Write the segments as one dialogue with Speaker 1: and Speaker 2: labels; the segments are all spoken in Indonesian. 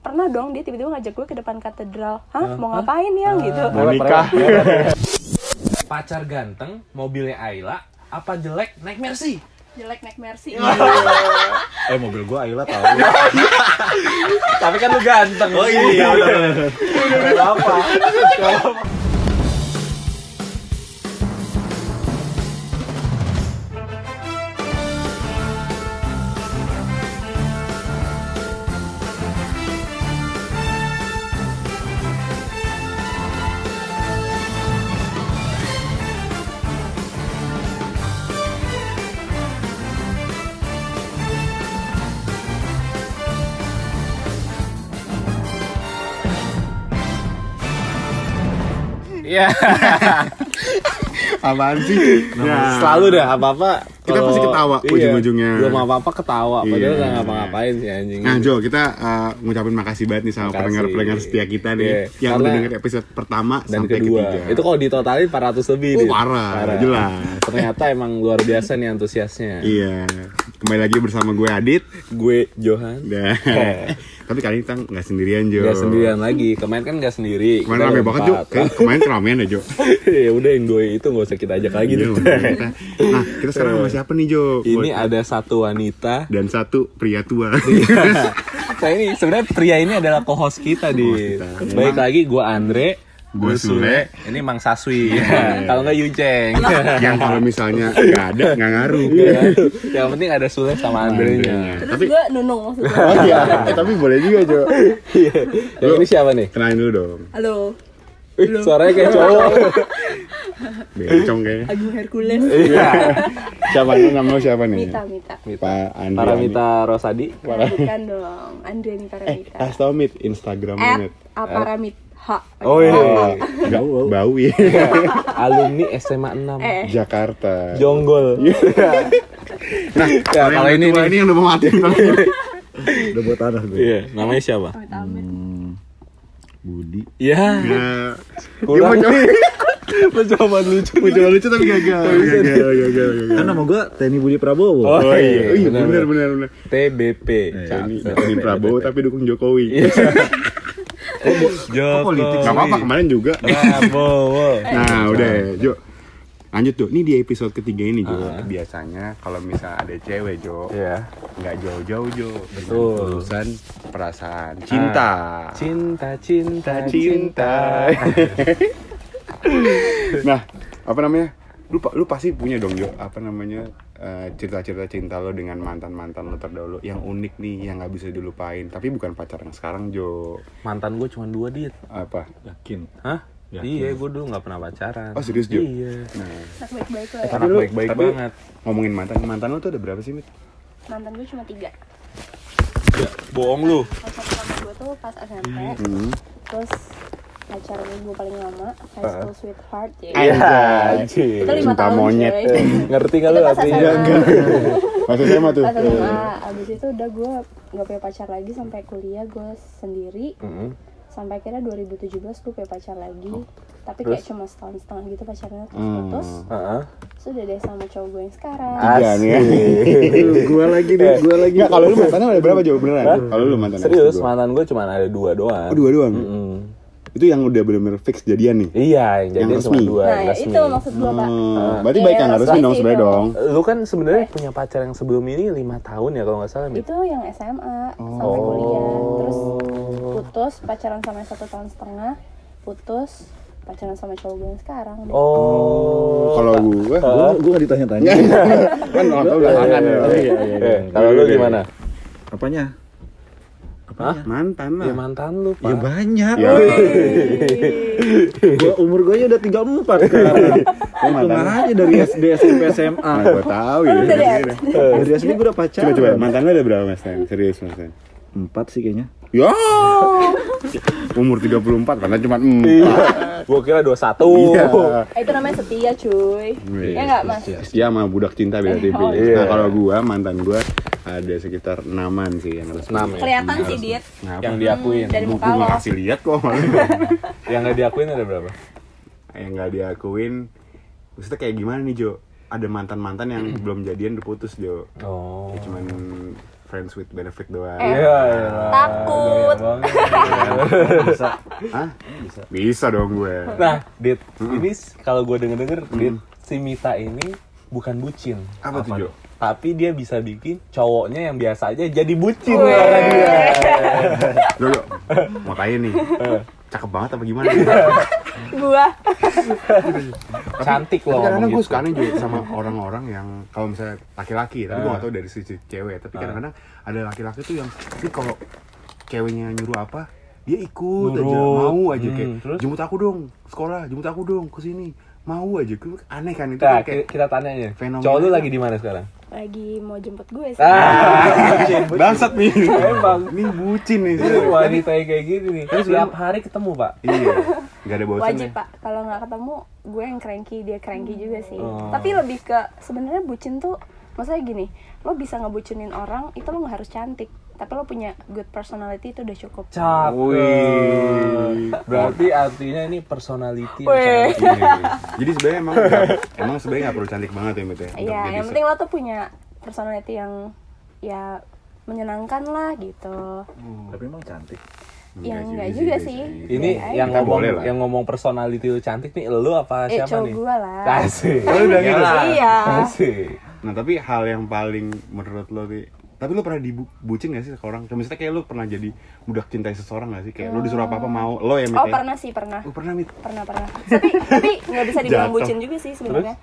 Speaker 1: pernah dong dia tiba-tiba ngajak gue ke depan katedral hah mau ngapain ya gitu
Speaker 2: Mau
Speaker 3: Boleh,
Speaker 2: nikah.
Speaker 4: Iya. Pacar ganteng, mobilnya Ayla, apa jelek naik Mercy?
Speaker 1: jelek naik mercy
Speaker 3: eh mobil gua Ayla tahu
Speaker 4: Tapi kan lu ganteng.
Speaker 3: oh iya
Speaker 4: Apa? Iya.
Speaker 2: Apaan sih? Nah,
Speaker 4: Selalu dah apa-apa.
Speaker 2: Kita
Speaker 4: kalau-
Speaker 2: pasti ketawa
Speaker 4: iya,
Speaker 2: ujung-ujungnya.
Speaker 4: Belum apa-apa ketawa, padahal
Speaker 2: Iya.
Speaker 4: nggak ngapa-ngapain sih anjing.
Speaker 2: Nah Jo, kita eh, ngucapin makasih banget nih sama
Speaker 4: Makasih.
Speaker 2: pendengar-pendengar setia kita nih
Speaker 4: Iya,
Speaker 2: Yang udah
Speaker 4: karena-
Speaker 2: denger episode pertama
Speaker 4: dan
Speaker 2: sampai
Speaker 4: kedua
Speaker 2: ketiga
Speaker 4: itu kalau ditotalin 400 lebih
Speaker 2: Oh
Speaker 4: Dit.
Speaker 2: parah, jelas
Speaker 4: ternyata emang luar biasa nih antusiasnya
Speaker 2: Iya, kembali lagi bersama gue Adit
Speaker 4: gue Johan
Speaker 2: Dan... Tapi kali ini kita nggak sendirian Jo
Speaker 4: Iya. nggak sendirian lagi kemarin kan nggak sendiri
Speaker 2: Kemarin
Speaker 4: Kita
Speaker 2: rame
Speaker 4: berempat.
Speaker 2: banget Jo, Kayaknya kemarin keramaian ya Jo
Speaker 4: ya udah yang doi itu nggak usah kita ajak lagi
Speaker 2: Iya,
Speaker 4: Dit.
Speaker 2: bener. Nah, kita sekarang sama siapa nih Jo?
Speaker 4: ini ada satu wanita
Speaker 2: Dan satu pria tua
Speaker 4: nah ini sebenarnya pria ini adalah co-host kita di
Speaker 2: kita.
Speaker 4: baik lagi gue Andre gue
Speaker 2: Gue Sule.
Speaker 4: ini Mang Saswi kalau nggak Yuceng
Speaker 2: Yang kalau misalnya nggak ada, nggak ngaruh
Speaker 4: Iya. Ya. yang penting ada Sule sama Andre-nya
Speaker 1: terus
Speaker 2: Tapi
Speaker 1: gue nunung maksudnya
Speaker 2: Oh iya, eh, tapi boleh juga Jo
Speaker 4: yang ini siapa nih
Speaker 2: Kenalin dulu dong,
Speaker 1: halo
Speaker 4: Ih, suaranya kayak cowok
Speaker 2: bencong kayaknya
Speaker 1: Agung Hercules
Speaker 4: Eh.
Speaker 2: Siapa nih, nama lu siapa nih?
Speaker 1: Mita Mita
Speaker 2: Pak Andi
Speaker 4: Paramita Rosadi
Speaker 1: bukan dong Andre Mita Ramita
Speaker 2: Kasih tau Mit, Instagram
Speaker 1: at
Speaker 2: Mit
Speaker 1: aparamit h
Speaker 4: Oh iya.
Speaker 2: Nggak, bau ya
Speaker 1: Iya.
Speaker 4: Alumni SMA 6.
Speaker 1: eh
Speaker 2: Jakarta
Speaker 4: Jonggol.
Speaker 2: Nah,
Speaker 4: Ya, kalau
Speaker 2: yang
Speaker 4: ini
Speaker 2: kedua
Speaker 4: nih.
Speaker 2: yang udah mau mati
Speaker 3: udah buat tanah gue
Speaker 4: Iya, namanya siapa?
Speaker 1: amit amit
Speaker 3: Budi
Speaker 4: Ya,
Speaker 2: Nah, Dia mau
Speaker 4: kurang
Speaker 2: coba,
Speaker 4: percobaan lucu.
Speaker 2: mau coba lucu tapi gagal Gagal, gagal, gagal
Speaker 3: kan nama gua Tni Budi
Speaker 4: iya.
Speaker 3: Prabowo
Speaker 4: Oh,
Speaker 2: Oh iya, iya,
Speaker 4: benar,
Speaker 2: bener, bener, bener
Speaker 4: TBP.
Speaker 2: Ini ini Prabowo tapi dukung
Speaker 4: Iya.
Speaker 2: Jokowi
Speaker 4: Jokowi.
Speaker 3: politik?
Speaker 2: Gak apa-apa, kemarin juga
Speaker 4: Prabowo.
Speaker 2: Nah, udah Jo. Lanjut tuh, ini di episode ketiga ini Jo.
Speaker 4: Ah.
Speaker 2: Biasanya kalau misalnya ada cewek Jo,
Speaker 4: Iya.
Speaker 2: nggak jauh-jauh Jo.
Speaker 4: Betul.
Speaker 2: Dengan Urusan perasaan, cinta.
Speaker 4: Cinta, cinta,
Speaker 2: Cinta.
Speaker 4: cinta.
Speaker 2: Nah, apa namanya? Lu, pa- lu pasti punya dong Jo, apa namanya eh, cerita-cerita cinta lo dengan mantan-mantan lo terdahulu yang unik nih, yang nggak bisa dilupain. Tapi bukan pacar yang sekarang Jo.
Speaker 4: Mantan gue cuma dua dit.
Speaker 2: Apa?
Speaker 3: yakin
Speaker 4: Hah?
Speaker 3: Yakin.
Speaker 4: Iya, gue dulu nggak pernah pacaran.
Speaker 2: Oh, serius, Jo?
Speaker 4: Iya.
Speaker 2: Nah,
Speaker 1: baik baik lo ya
Speaker 4: Anak
Speaker 2: lu-
Speaker 4: baik-baik
Speaker 2: tapi
Speaker 4: banget.
Speaker 2: Ngomongin mantan, mantan lo tuh ada berapa sih, Mit?
Speaker 1: mantan gue cuma tiga
Speaker 4: Ya, bohong lu.
Speaker 1: Pas pertama gue tuh pas SMP
Speaker 2: Hmm.
Speaker 1: terus pacar gue paling lama high school sweetheart ya
Speaker 2: Iya.
Speaker 4: anjir.
Speaker 1: itu lima
Speaker 2: Eh, Cinta
Speaker 1: tahun
Speaker 2: monyet.
Speaker 1: cuy.
Speaker 4: Ngerti nggak
Speaker 1: itu
Speaker 4: lu
Speaker 1: pas
Speaker 4: artinya?
Speaker 1: SMA
Speaker 2: Maksud saya mah tuh. eh,
Speaker 1: pas SMA abis itu udah gue nggak punya pacar lagi sampai kuliah gue sendiri
Speaker 2: Mm-hmm.
Speaker 4: Mm-mm.
Speaker 1: sampai akhirnya 2017 gue punya pacar lagi
Speaker 2: Oh,
Speaker 1: tapi kayak cuma setahun setengah gitu pacarnya terus
Speaker 2: Hmm.
Speaker 1: putus
Speaker 4: Heeh.
Speaker 1: sudah deh sama cowok gue yang sekarang
Speaker 2: Tiga nih ya.
Speaker 3: gua lagi nih gua lagi
Speaker 2: Enggak, kalau lu mantannya ada berapa jauh beneran?
Speaker 4: Hah?
Speaker 2: Kalau lu mantan
Speaker 4: Serius,
Speaker 2: mantan.
Speaker 4: mantan gue cuma ada dua doang.
Speaker 2: Oh, dua doang.
Speaker 4: Mm-mm.
Speaker 2: Itu yang udah bener-bener fix jadian nih.
Speaker 4: Iya, yang jadian cuma
Speaker 2: Yang resmi.
Speaker 4: dua.
Speaker 1: nah
Speaker 4: yang
Speaker 1: ya
Speaker 4: resmi.
Speaker 1: itu maksud gue pak
Speaker 2: Hmm, berarti
Speaker 1: Iya,
Speaker 2: baik kan harus
Speaker 1: resmi
Speaker 2: dong
Speaker 1: sih
Speaker 2: sebenarnya
Speaker 1: dong.
Speaker 2: dong.
Speaker 4: Lu kan sebenarnya punya pacar yang sebelum ini lima tahun ya kalau nggak salah. Mit?
Speaker 1: itu yang SMA sampai
Speaker 2: Oh.
Speaker 1: kuliah terus putus pacaran sama yang satu tahun setengah putus pacaran sama cowok gue yang sekarang
Speaker 2: Oh.
Speaker 1: deh.
Speaker 4: Oh.
Speaker 2: Kalau gue,
Speaker 3: gua gua nggak ditanya-tanya
Speaker 2: kan orang tua belakangan ya.
Speaker 3: Iya, iya, iya.
Speaker 4: Eh, kalau lu gimana?
Speaker 3: apanya
Speaker 4: Hah?
Speaker 2: Mantan lah.
Speaker 4: Ya mantan lu, Pak.
Speaker 3: ya banyak
Speaker 2: Ya.
Speaker 3: gua umur gua aja udah 34 sekarang hitungan aja dari SD SMP SMA
Speaker 2: Nah, gue tahu ya.
Speaker 1: Lu udah deh.
Speaker 3: dari SD gua udah pacaran
Speaker 2: Coba coba mantan lu ada berapa Mas Tan? Serius Mas Tan.
Speaker 3: empat sih kayaknya
Speaker 2: Ya. Umur 34 padahal cuma
Speaker 4: Iya.
Speaker 2: 4.
Speaker 4: Gua kira 21.
Speaker 2: Iya.
Speaker 1: itu namanya setia cuy
Speaker 2: Iya,
Speaker 1: ya nggak mas
Speaker 2: Setia sama budak cinta
Speaker 1: Eh,
Speaker 2: beda
Speaker 1: oh,
Speaker 2: tipis.
Speaker 4: iya.
Speaker 2: Nah, kalau gua mantan gua ada sekitar 6-an sih yang resmi.
Speaker 4: Enam ya.
Speaker 1: kelihatan sih dia
Speaker 2: Ngapa?
Speaker 4: Yang diakuin.
Speaker 1: dari
Speaker 2: Buku
Speaker 1: muka lo
Speaker 2: gua kasih lihat kok.
Speaker 4: Yang nggak diakuin ada berapa?
Speaker 2: yang nggak diakuin maksudnya kayak gimana nih Jo ada mantan mantan yang
Speaker 1: Hmm.
Speaker 2: belum jadian udah putus Jo Ya,
Speaker 4: Oh.
Speaker 1: Eh.
Speaker 2: cuman friends with benefit doang
Speaker 4: Iya,
Speaker 1: takut
Speaker 4: banget. bisa.
Speaker 2: Hah?
Speaker 4: Bisa.
Speaker 2: Bisa dong gue.
Speaker 4: Nah, Dit,
Speaker 2: Hmm.
Speaker 4: ini s- kalau gue denger-denger, Dit, si Mita ini bukan bucin.
Speaker 2: Apa tuh, Jo?
Speaker 4: Tapi dia bisa bikin cowoknya yang biasa aja jadi bucin karena dia.
Speaker 2: Lo yuk, mau tanya nih.
Speaker 1: Eh.
Speaker 2: Cakep banget apa gimana?
Speaker 1: Gua
Speaker 4: Cantik loh.
Speaker 2: Tapi kadang-kadang
Speaker 4: ngomong
Speaker 2: gue
Speaker 4: gitu.
Speaker 2: sukanya juga sama orang-orang yang kalau misalnya laki-laki, tapi gue gak tau dari sisi cewek. Tapi kadang-kadang ada laki-laki tuh yang ini kalau ceweknya nyuruh apa, dia ikut aja,
Speaker 4: Nurut.
Speaker 2: mau aja
Speaker 4: Hmm,
Speaker 2: kayak
Speaker 4: terus?
Speaker 2: jemput aku dong sekolah, jemput aku dong ke sini, mau aja. Gue aneh kan itu
Speaker 4: Nah,
Speaker 2: kan
Speaker 4: ki-
Speaker 2: kayak
Speaker 4: kita tanya aja.
Speaker 2: fenomena.
Speaker 4: Cowok lu lagi di mana sekarang?
Speaker 1: lagi mau jemput gue sih.
Speaker 4: Ah,
Speaker 2: bangsat nih.
Speaker 4: Emang.
Speaker 2: Ini bucin nih.
Speaker 4: wanita yang kayak gini nih. Tiap hari ketemu, Pak.
Speaker 2: Iya, nggak ada bosan
Speaker 1: Wajib pak, kalau nggak ketemu gue yang cranky dia cranky juga sih.
Speaker 4: Oh.
Speaker 1: Tapi lebih ke sebenarnya bucin tuh maksudnya gini, lo bisa ngebucinin orang itu lo nggak harus cantik, tapi lo punya good personality itu udah cukup.
Speaker 4: Cakep.
Speaker 2: Wih.
Speaker 4: Berarti artinya ini personality yang
Speaker 1: Wih.
Speaker 4: cantik.
Speaker 2: Iya. Jadi sebenarnya emang nggak- emang sebenarnya nggak perlu cantik banget ya Mbak ya. Untuk
Speaker 1: Iya,
Speaker 2: jadi
Speaker 1: yang
Speaker 2: se-
Speaker 1: penting lo tuh punya personality yang ya menyenangkan lah gitu.
Speaker 3: Tapi emang cantik.
Speaker 1: Yang nggak juga sih.
Speaker 4: Ini
Speaker 1: Iya,
Speaker 4: yang
Speaker 2: Kita
Speaker 4: ngomong
Speaker 2: boleh lah.
Speaker 4: yang ngomong personality lu cantik nih lu apa
Speaker 1: Eh,
Speaker 4: siapa
Speaker 1: cowok
Speaker 4: nih?
Speaker 1: gue lah.
Speaker 4: Asik.
Speaker 2: Oh, lu bilang gitu?
Speaker 4: Iyalah.
Speaker 1: Iya.
Speaker 4: Asik.
Speaker 2: Nah tapi hal yang paling menurut lo Ti, tapi lo pernah dibucin gak sih ke orang? Kayak Misalnya kayak lo pernah jadi budak cintai seseorang gak sih? Kayak lo disuruh apa apa mau lo yang
Speaker 1: Oh pernah sih pernah.
Speaker 2: Oh, pernah mit.
Speaker 1: pernah pernah tapi tapi nggak bisa dibilang
Speaker 2: Jatuh.
Speaker 1: bucin juga sih sebenarnya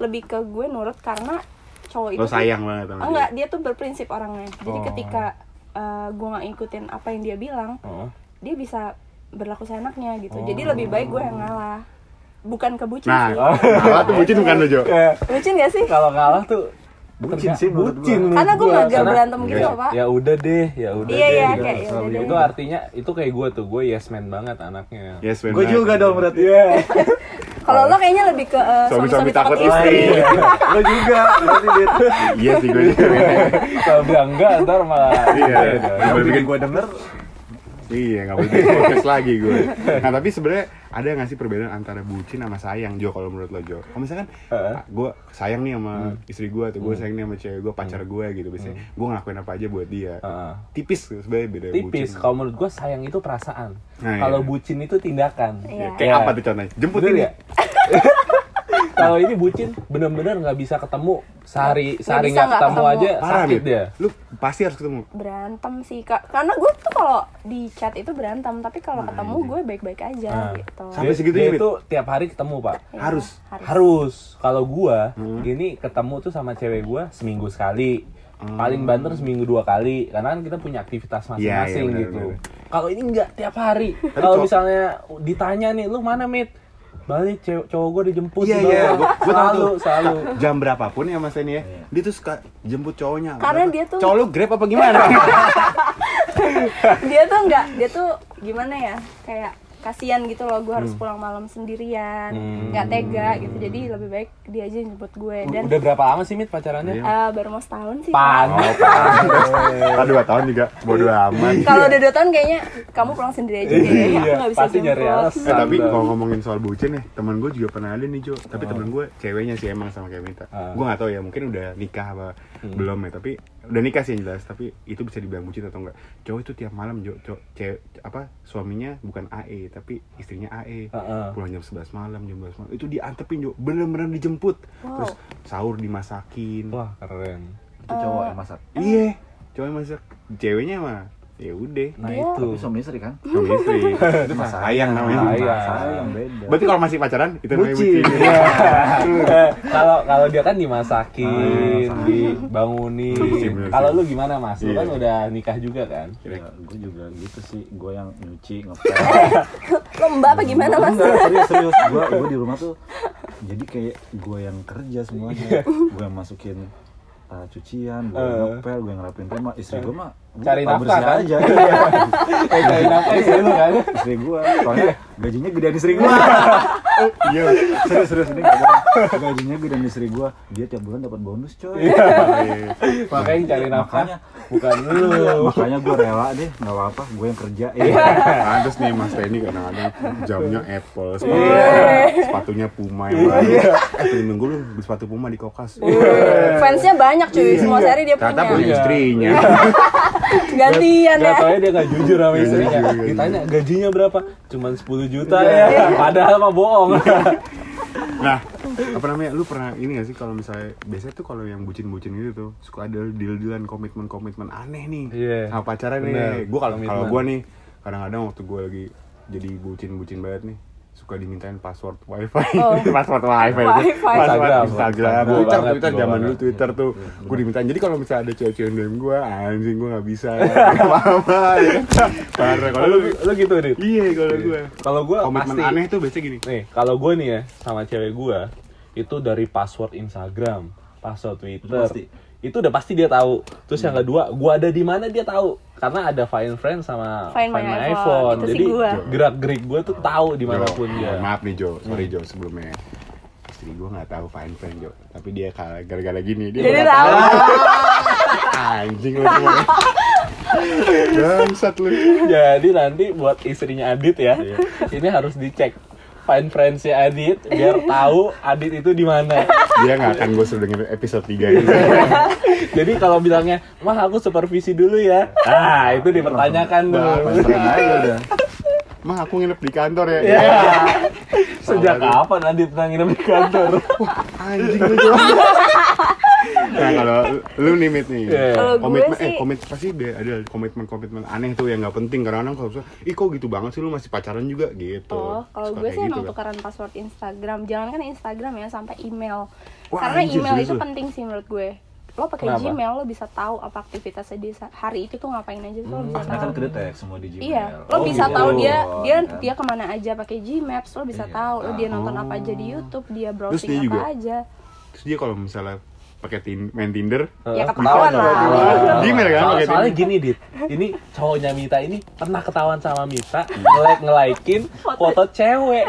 Speaker 1: lebih ke gue nurut karena cowok itu
Speaker 2: Lo
Speaker 1: tuh-
Speaker 2: sayang Oh. banget sama
Speaker 1: Ah, enggak dia tuh berprinsip orangnya jadi ketika eh, gue nggak ngikutin apa yang dia bilang
Speaker 4: Oh.
Speaker 1: dia bisa berlaku seenaknya gitu jadi lebih baik gue yang ngalah bukan ke bucin
Speaker 2: Oh. Nah,
Speaker 1: sih
Speaker 2: malah tuh bucin bukan lo Jo.
Speaker 4: Kayak
Speaker 1: bucin gak sih
Speaker 4: Ya, kalau kalah tuh terga-
Speaker 3: Bucin sih menurut
Speaker 4: bucin
Speaker 3: gua.
Speaker 4: menurut
Speaker 1: Karena gua
Speaker 4: gua.
Speaker 1: nggak
Speaker 4: Karena-
Speaker 1: berantem gitu,
Speaker 4: Iya,
Speaker 1: Pak.
Speaker 4: Ya udah deh, ya udah
Speaker 1: Iya,
Speaker 4: deh.
Speaker 1: iya,
Speaker 4: gitu.
Speaker 1: kayak ya udah
Speaker 4: Itu
Speaker 1: deh.
Speaker 4: artinya itu kayak gue tuh, gue yes man banget anaknya.
Speaker 2: Yes, benar.
Speaker 3: Gue juga dong berarti.
Speaker 4: Iya.
Speaker 1: kalau lo kayaknya lebih ke eh, suami-suami
Speaker 2: Suami-suami
Speaker 1: takut
Speaker 2: takut
Speaker 1: istri
Speaker 2: lain.
Speaker 3: Lo juga. berarti, Dit.
Speaker 2: Iya sih gue. juga.
Speaker 4: Kalau bilang enggak ntar malah
Speaker 2: Iya.
Speaker 3: Yang
Speaker 2: Boleh
Speaker 3: bikin
Speaker 2: bikin
Speaker 3: gue denger
Speaker 2: Iya, nggak boleh bikin podcast lagi gue. Nah, tapi sebenarnya ada nggak sih perbedaan antara bucin sama sayang, Jo, kalau menurut lo, Jo? Kalau misalkan
Speaker 4: Heeh. Hmm.
Speaker 2: ah, gue sayang nih sama istri gue, atau gue sayang nih sama cewek gue, pacar gue gitu, biasanya gue ngelakuin apa aja buat dia.
Speaker 4: Heeh.
Speaker 2: Tipis tuh sebenarnya beda bucin.
Speaker 4: tipis. Kalau menurut gue sayang itu perasaan.
Speaker 2: Nah,
Speaker 4: kalau
Speaker 2: iya.
Speaker 4: bucin itu tindakan.
Speaker 1: Iya.
Speaker 2: Kayak
Speaker 4: Iya.
Speaker 2: apa tuh contohnya? Jemput
Speaker 4: Bener
Speaker 2: ini.
Speaker 4: ya? Kalau ini bucin benar-benar nggak bisa ketemu sehari sehari
Speaker 1: bisa
Speaker 4: nggak
Speaker 1: nggak
Speaker 4: ketemu
Speaker 1: ketemu.
Speaker 4: aja
Speaker 2: Parah,
Speaker 4: sakit
Speaker 2: Bib.
Speaker 4: dia.
Speaker 2: Lu pasti harus ketemu.
Speaker 1: berantem sih kak karena gue tuh kalau di chat itu berantem tapi kalau
Speaker 2: Nah, iya
Speaker 1: ketemu gue baik-baik aja
Speaker 4: Ah.
Speaker 1: gitu
Speaker 2: Sampai ya,
Speaker 4: Dia-
Speaker 2: segitunya,
Speaker 4: dia
Speaker 2: Bib?
Speaker 4: itu tiap hari ketemu pak.
Speaker 1: Iya,
Speaker 2: harus.
Speaker 4: Harus. Kalau gua
Speaker 2: Hmm.
Speaker 4: gini ketemu tuh sama cewek gua seminggu sekali. Paling banter seminggu dua kali karena kan kita punya aktivitas masing-masing
Speaker 2: Hmm. Iya, iya, benar,
Speaker 4: gitu.
Speaker 2: benar.
Speaker 4: Kalau ini nggak tiap hari. Kalau
Speaker 2: cowok-
Speaker 4: misalnya ditanya nih lu mana mit? Balik cewek cowok gua dijemput
Speaker 2: Iya,
Speaker 4: di bawah.
Speaker 2: iya. Gua- gua tahu
Speaker 4: selalu
Speaker 2: tuh.
Speaker 4: selalu.
Speaker 2: Jam berapapun ya Mas ini ya,
Speaker 4: Iya.
Speaker 2: dia tuh suka jemput cowoknya.
Speaker 1: Karena
Speaker 2: Berapa-
Speaker 1: dia tuh-
Speaker 2: Cowok lu grab apa gimana?
Speaker 1: dia tuh nggak dia tuh gimana ya kayak kasihan gitu loh gue
Speaker 4: Hmm.
Speaker 1: harus pulang malam sendirian nggak tega gitu jadi lebih baik dia aja yang jemput gue dan
Speaker 4: Udah berapa lama sih mit
Speaker 2: Iya.
Speaker 4: pacarannya?
Speaker 1: eh, baru mau setahun sih
Speaker 4: Pan.
Speaker 2: Oh, Kan dua tahun juga bodo
Speaker 1: Iya.
Speaker 2: amat.
Speaker 1: kalau udah dua tahun kayaknya kamu pulang sendiri aja deh aku nggak bisa
Speaker 4: Iya, pasti nyari
Speaker 1: jemput
Speaker 4: alasan.
Speaker 2: Eh, tapi
Speaker 4: Sambal.
Speaker 2: kalau ngomongin soal bucin nih, temen gue juga pernah ada nih Jo. Tapi temen gue ceweknya sih emang sama kayak Mita.
Speaker 4: Ah. Hmm.
Speaker 2: Gue gak tahu ya, mungkin udah nikah apa belum ya. Tapi udah nikah sih yang jelas. Tapi itu bisa dibilang bucin atau enggak? Cowok itu tiap malam Jo, cowok, cewek apa suaminya bukan AE tapi istrinya AE.
Speaker 4: Ah, ah.
Speaker 2: Pulang jam 11 malam, jam 12 malam. Itu diantepin Jo, bener-bener dijemput.
Speaker 1: Wow.
Speaker 2: Terus sahur dimasakin.
Speaker 4: Wah keren.
Speaker 3: itu cowok yang masak.
Speaker 2: Iya, cowoknya masak. Ceweknya mah ya udah.
Speaker 4: Nah
Speaker 1: Dia-
Speaker 4: itu.
Speaker 3: Tapi suami istri kan?
Speaker 2: Suami istri.
Speaker 3: Itu mah
Speaker 2: Sayang namanya.
Speaker 4: Sayang. Iya.
Speaker 3: Sayang beda.
Speaker 2: Berarti kalau masih pacaran itu namanya
Speaker 3: Bucin.
Speaker 2: bucin.
Speaker 4: Eh, kalau kalau dia kan
Speaker 2: Ah,
Speaker 4: dimasakin,
Speaker 2: sama. Ah, Iya, bener
Speaker 4: dibangunin. Kalau
Speaker 2: sih.
Speaker 4: lu gimana Mas? Lu
Speaker 2: Iya.
Speaker 4: kan udah nikah juga kan?
Speaker 3: Ya, gue juga gitu sih, gue yang nyuci, ngepel
Speaker 1: lomba apa gimana mas
Speaker 3: Enggak, serius, serius Gue gua di rumah tuh jadi kayak gue yang kerja
Speaker 4: Iya.
Speaker 3: semuanya Gue yang masukin uh, cucian, gue
Speaker 4: Eh.
Speaker 3: ngepel, gue yang ngerapin rumah Istri gue mah gua
Speaker 4: Cari
Speaker 3: tak
Speaker 4: nafkah,
Speaker 3: bersih
Speaker 4: kan?
Speaker 3: aja
Speaker 4: Eh,
Speaker 2: Iya.
Speaker 4: kayak nafkah sih lu kan? Iya.
Speaker 3: Istri gue, soalnya gajinya gedean istri gue
Speaker 2: Iya.
Speaker 3: Serius, serius, ini gak bohong. Gajinya gedean istri gue, dia tiap bulan dapat bonus coy
Speaker 2: Iya.
Speaker 4: Makanya yang cari Iya, nafkah
Speaker 3: Makanya.
Speaker 4: bukan lu.
Speaker 3: Makanya gue rela deh, gak apa-apa, gue yang kerja Iya.
Speaker 2: Pantes nih Mas Teni kadang-kadang jamnya Apple, sepatunya, sepatunya Puma yang baru. Eh, temen gue lu beli sepatu Puma di Kokas.
Speaker 1: Iya.
Speaker 4: Iya.
Speaker 1: fansnya banyak cuy semua seri dia
Speaker 2: Ternyata
Speaker 1: punya
Speaker 2: punya istrinya.
Speaker 1: Gantian ya.
Speaker 4: Gak taunya dia gak jujur
Speaker 2: Iya,
Speaker 4: sama istrinya
Speaker 2: Gak jujur, gak
Speaker 4: Ditanya gajinya berapa? Cuman 10 juta
Speaker 2: Iya.
Speaker 4: ya Padahal mah bohong
Speaker 2: Nah, apa namanya? Lu pernah ini gak sih kalau misalnya biasanya tuh kalau yang bucin-bucin gitu tuh suka ada deal-dealan komitmen-komitmen aneh nih
Speaker 4: Iya.
Speaker 2: sama pacaran
Speaker 4: Bener.
Speaker 2: nih. Gue kalau
Speaker 4: Komitmen.
Speaker 2: kalau gue nih kadang-kadang waktu gue lagi jadi bucin-bucin banget nih suka dimintain password wifi
Speaker 1: Oh.
Speaker 2: password wifi,
Speaker 1: Wifi.
Speaker 2: password
Speaker 4: Instagram.
Speaker 2: Instagram,
Speaker 4: Gua
Speaker 2: Twitter,
Speaker 4: banget,
Speaker 2: Twitter
Speaker 4: gua
Speaker 2: zaman
Speaker 4: banget. Iya.
Speaker 2: dulu Twitter tuh gue dimintain. Jadi kalau misalnya ada cewek-cewek yang DM gue, anjing gue nggak bisa, Nggak apa-apa, ya kan? Parah kalau
Speaker 4: Lu,
Speaker 2: lu,
Speaker 4: lu gitu Dit
Speaker 2: iya kalau gue.
Speaker 4: Kalau gue
Speaker 2: Komitmen
Speaker 4: pasti
Speaker 2: aneh tuh biasanya gini.
Speaker 4: Nih, kalau gue nih ya sama cewek gue itu dari password Instagram, password Twitter.
Speaker 3: Pasti.
Speaker 4: Itu udah pasti dia tahu. Terus yang kedua, gue ada di mana dia tahu. Karena ada Find Friends sama
Speaker 1: Find My iPhone, itu sih
Speaker 4: Jadi
Speaker 1: gua.
Speaker 4: gerak-gerik gue tuh tahu dimanapun
Speaker 2: Jo,
Speaker 4: dia.
Speaker 2: mohon Maaf nih Jo, sorry Jo sebelumnya. Istri gue nggak tahu fine friend Jo, tapi dia kalah gara-gara gini dia
Speaker 1: Jadi
Speaker 2: nggak
Speaker 1: tahu.
Speaker 2: anjing lu semua. Bangsat lu.
Speaker 4: Jadi nanti buat istrinya Adit ya, ini harus dicek Find Friends-nya Adit biar tahu Adit itu di mana.
Speaker 2: Dia nggak akan gue suruh denger episode 3 ini.
Speaker 4: Jadi kalau bilangnya, "Mah, aku supervisi dulu ya." Ah, itu dipertanyakan dulu.
Speaker 3: Pacaran aja udah.
Speaker 2: Mah aku nginep di kantor ya.
Speaker 1: Iya.
Speaker 4: Ya. Sejak kapan Adit pernah nginep di kantor?
Speaker 2: Anjing lu Jo. Nah kalau lu nih Mit nih
Speaker 4: Iya.
Speaker 1: Kalau gue
Speaker 2: komitmen eh
Speaker 1: sih-
Speaker 2: komit pasti ada ada komitmen komitmen aneh tuh yang nggak penting karena kadang kalau misalnya, ih kok gitu banget sih lu masih pacaran juga gitu.
Speaker 1: Oh, kalau
Speaker 2: Suka
Speaker 1: gue
Speaker 2: kayak
Speaker 1: sih emang
Speaker 2: kan.
Speaker 1: tukeran password Instagram. Jangan kan Instagram ya sampai email.
Speaker 2: Wah,
Speaker 1: Karena
Speaker 2: anjir,
Speaker 1: email
Speaker 2: serius
Speaker 1: itu
Speaker 2: lu?
Speaker 1: penting sih menurut gue. Lo pakai
Speaker 4: Kenapa?
Speaker 1: Gmail lo bisa tahu apa aktivitasnya di sa- hari itu tuh ngapain aja tuh lo bisa
Speaker 3: Karena kan
Speaker 1: tahu.
Speaker 3: kedetek semua di Gmail.
Speaker 1: Iya, lo
Speaker 4: Oh,
Speaker 1: bisa
Speaker 4: gitu.
Speaker 1: tahu dia dia
Speaker 3: Kan?
Speaker 1: dia kemana aja pakai Gmaps, lo bisa
Speaker 3: Iya.
Speaker 1: tahu lo dia nonton apa aja di YouTube, dia browsing
Speaker 2: dia
Speaker 1: apa
Speaker 2: juga?
Speaker 1: aja.
Speaker 2: Terus dia kalau misalnya pakai tin main Tinder,
Speaker 1: Ya ketahuan lah.
Speaker 2: Gmail kan
Speaker 4: Soal-
Speaker 2: pakai
Speaker 4: soalnya
Speaker 2: Tinder.
Speaker 4: gini dit, ini cowoknya Mita ini pernah ketahuan sama Mita ngelike ngelikein foto cewek.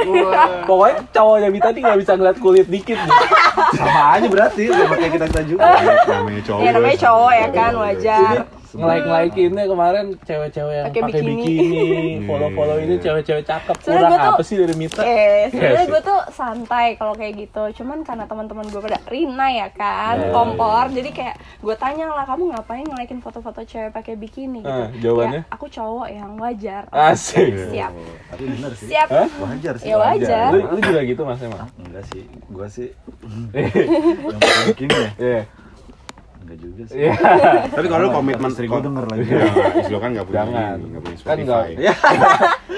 Speaker 4: Pokoknya cowoknya Mita ini nggak bisa ngeliat kulit dikit nih.
Speaker 3: Sama aja berarti sama kayak kita kita juga.
Speaker 2: namanya cowok.
Speaker 4: Iya,
Speaker 1: Ya namanya cowok ya
Speaker 2: Oh,
Speaker 1: kan
Speaker 2: iya.
Speaker 1: wajar.
Speaker 4: Ngelike ngelikeinnya kemarin cewek-cewek yang
Speaker 1: Pakai
Speaker 4: pakai
Speaker 1: bikini.
Speaker 4: bikini, follow follow ini
Speaker 2: Iya.
Speaker 4: cewek-cewek cakep.
Speaker 1: Sebenarnya
Speaker 4: Kurang
Speaker 1: gua tuh-
Speaker 4: apa sih dari Mita?
Speaker 1: Eh, sebenarnya
Speaker 4: sih.
Speaker 1: gue tuh santai kalau kayak gitu. Cuman karena teman-teman gue pada Rina ya kan, kompor. Jadi kayak gue tanya lah kamu ngapain ngeliatin foto-foto cewek pakai bikini gitu.
Speaker 4: Eh, jawabannya?
Speaker 1: Ya, aku cowok yang wajar.
Speaker 2: Iya.
Speaker 4: Asik.
Speaker 1: Siap.
Speaker 3: Iya. Tapi bener sih.
Speaker 1: Siap.
Speaker 4: Hah?
Speaker 3: Wajar sih.
Speaker 1: Ya wajar.
Speaker 4: Lu, lu juga gitu mas emang?
Speaker 3: Ah, Enggak sih, gua sih yang paling mungkin ya
Speaker 4: Iya.
Speaker 3: Enggak juga sih
Speaker 4: Iya.
Speaker 2: Tapi kalau lu
Speaker 3: Sama,
Speaker 2: komitmen
Speaker 3: istri gua denger lagi.
Speaker 2: Iya, istri lu kan enggak punya
Speaker 4: Jangan.
Speaker 2: ini, nggak punya
Speaker 4: Kan
Speaker 2: Spotify.
Speaker 4: nggak-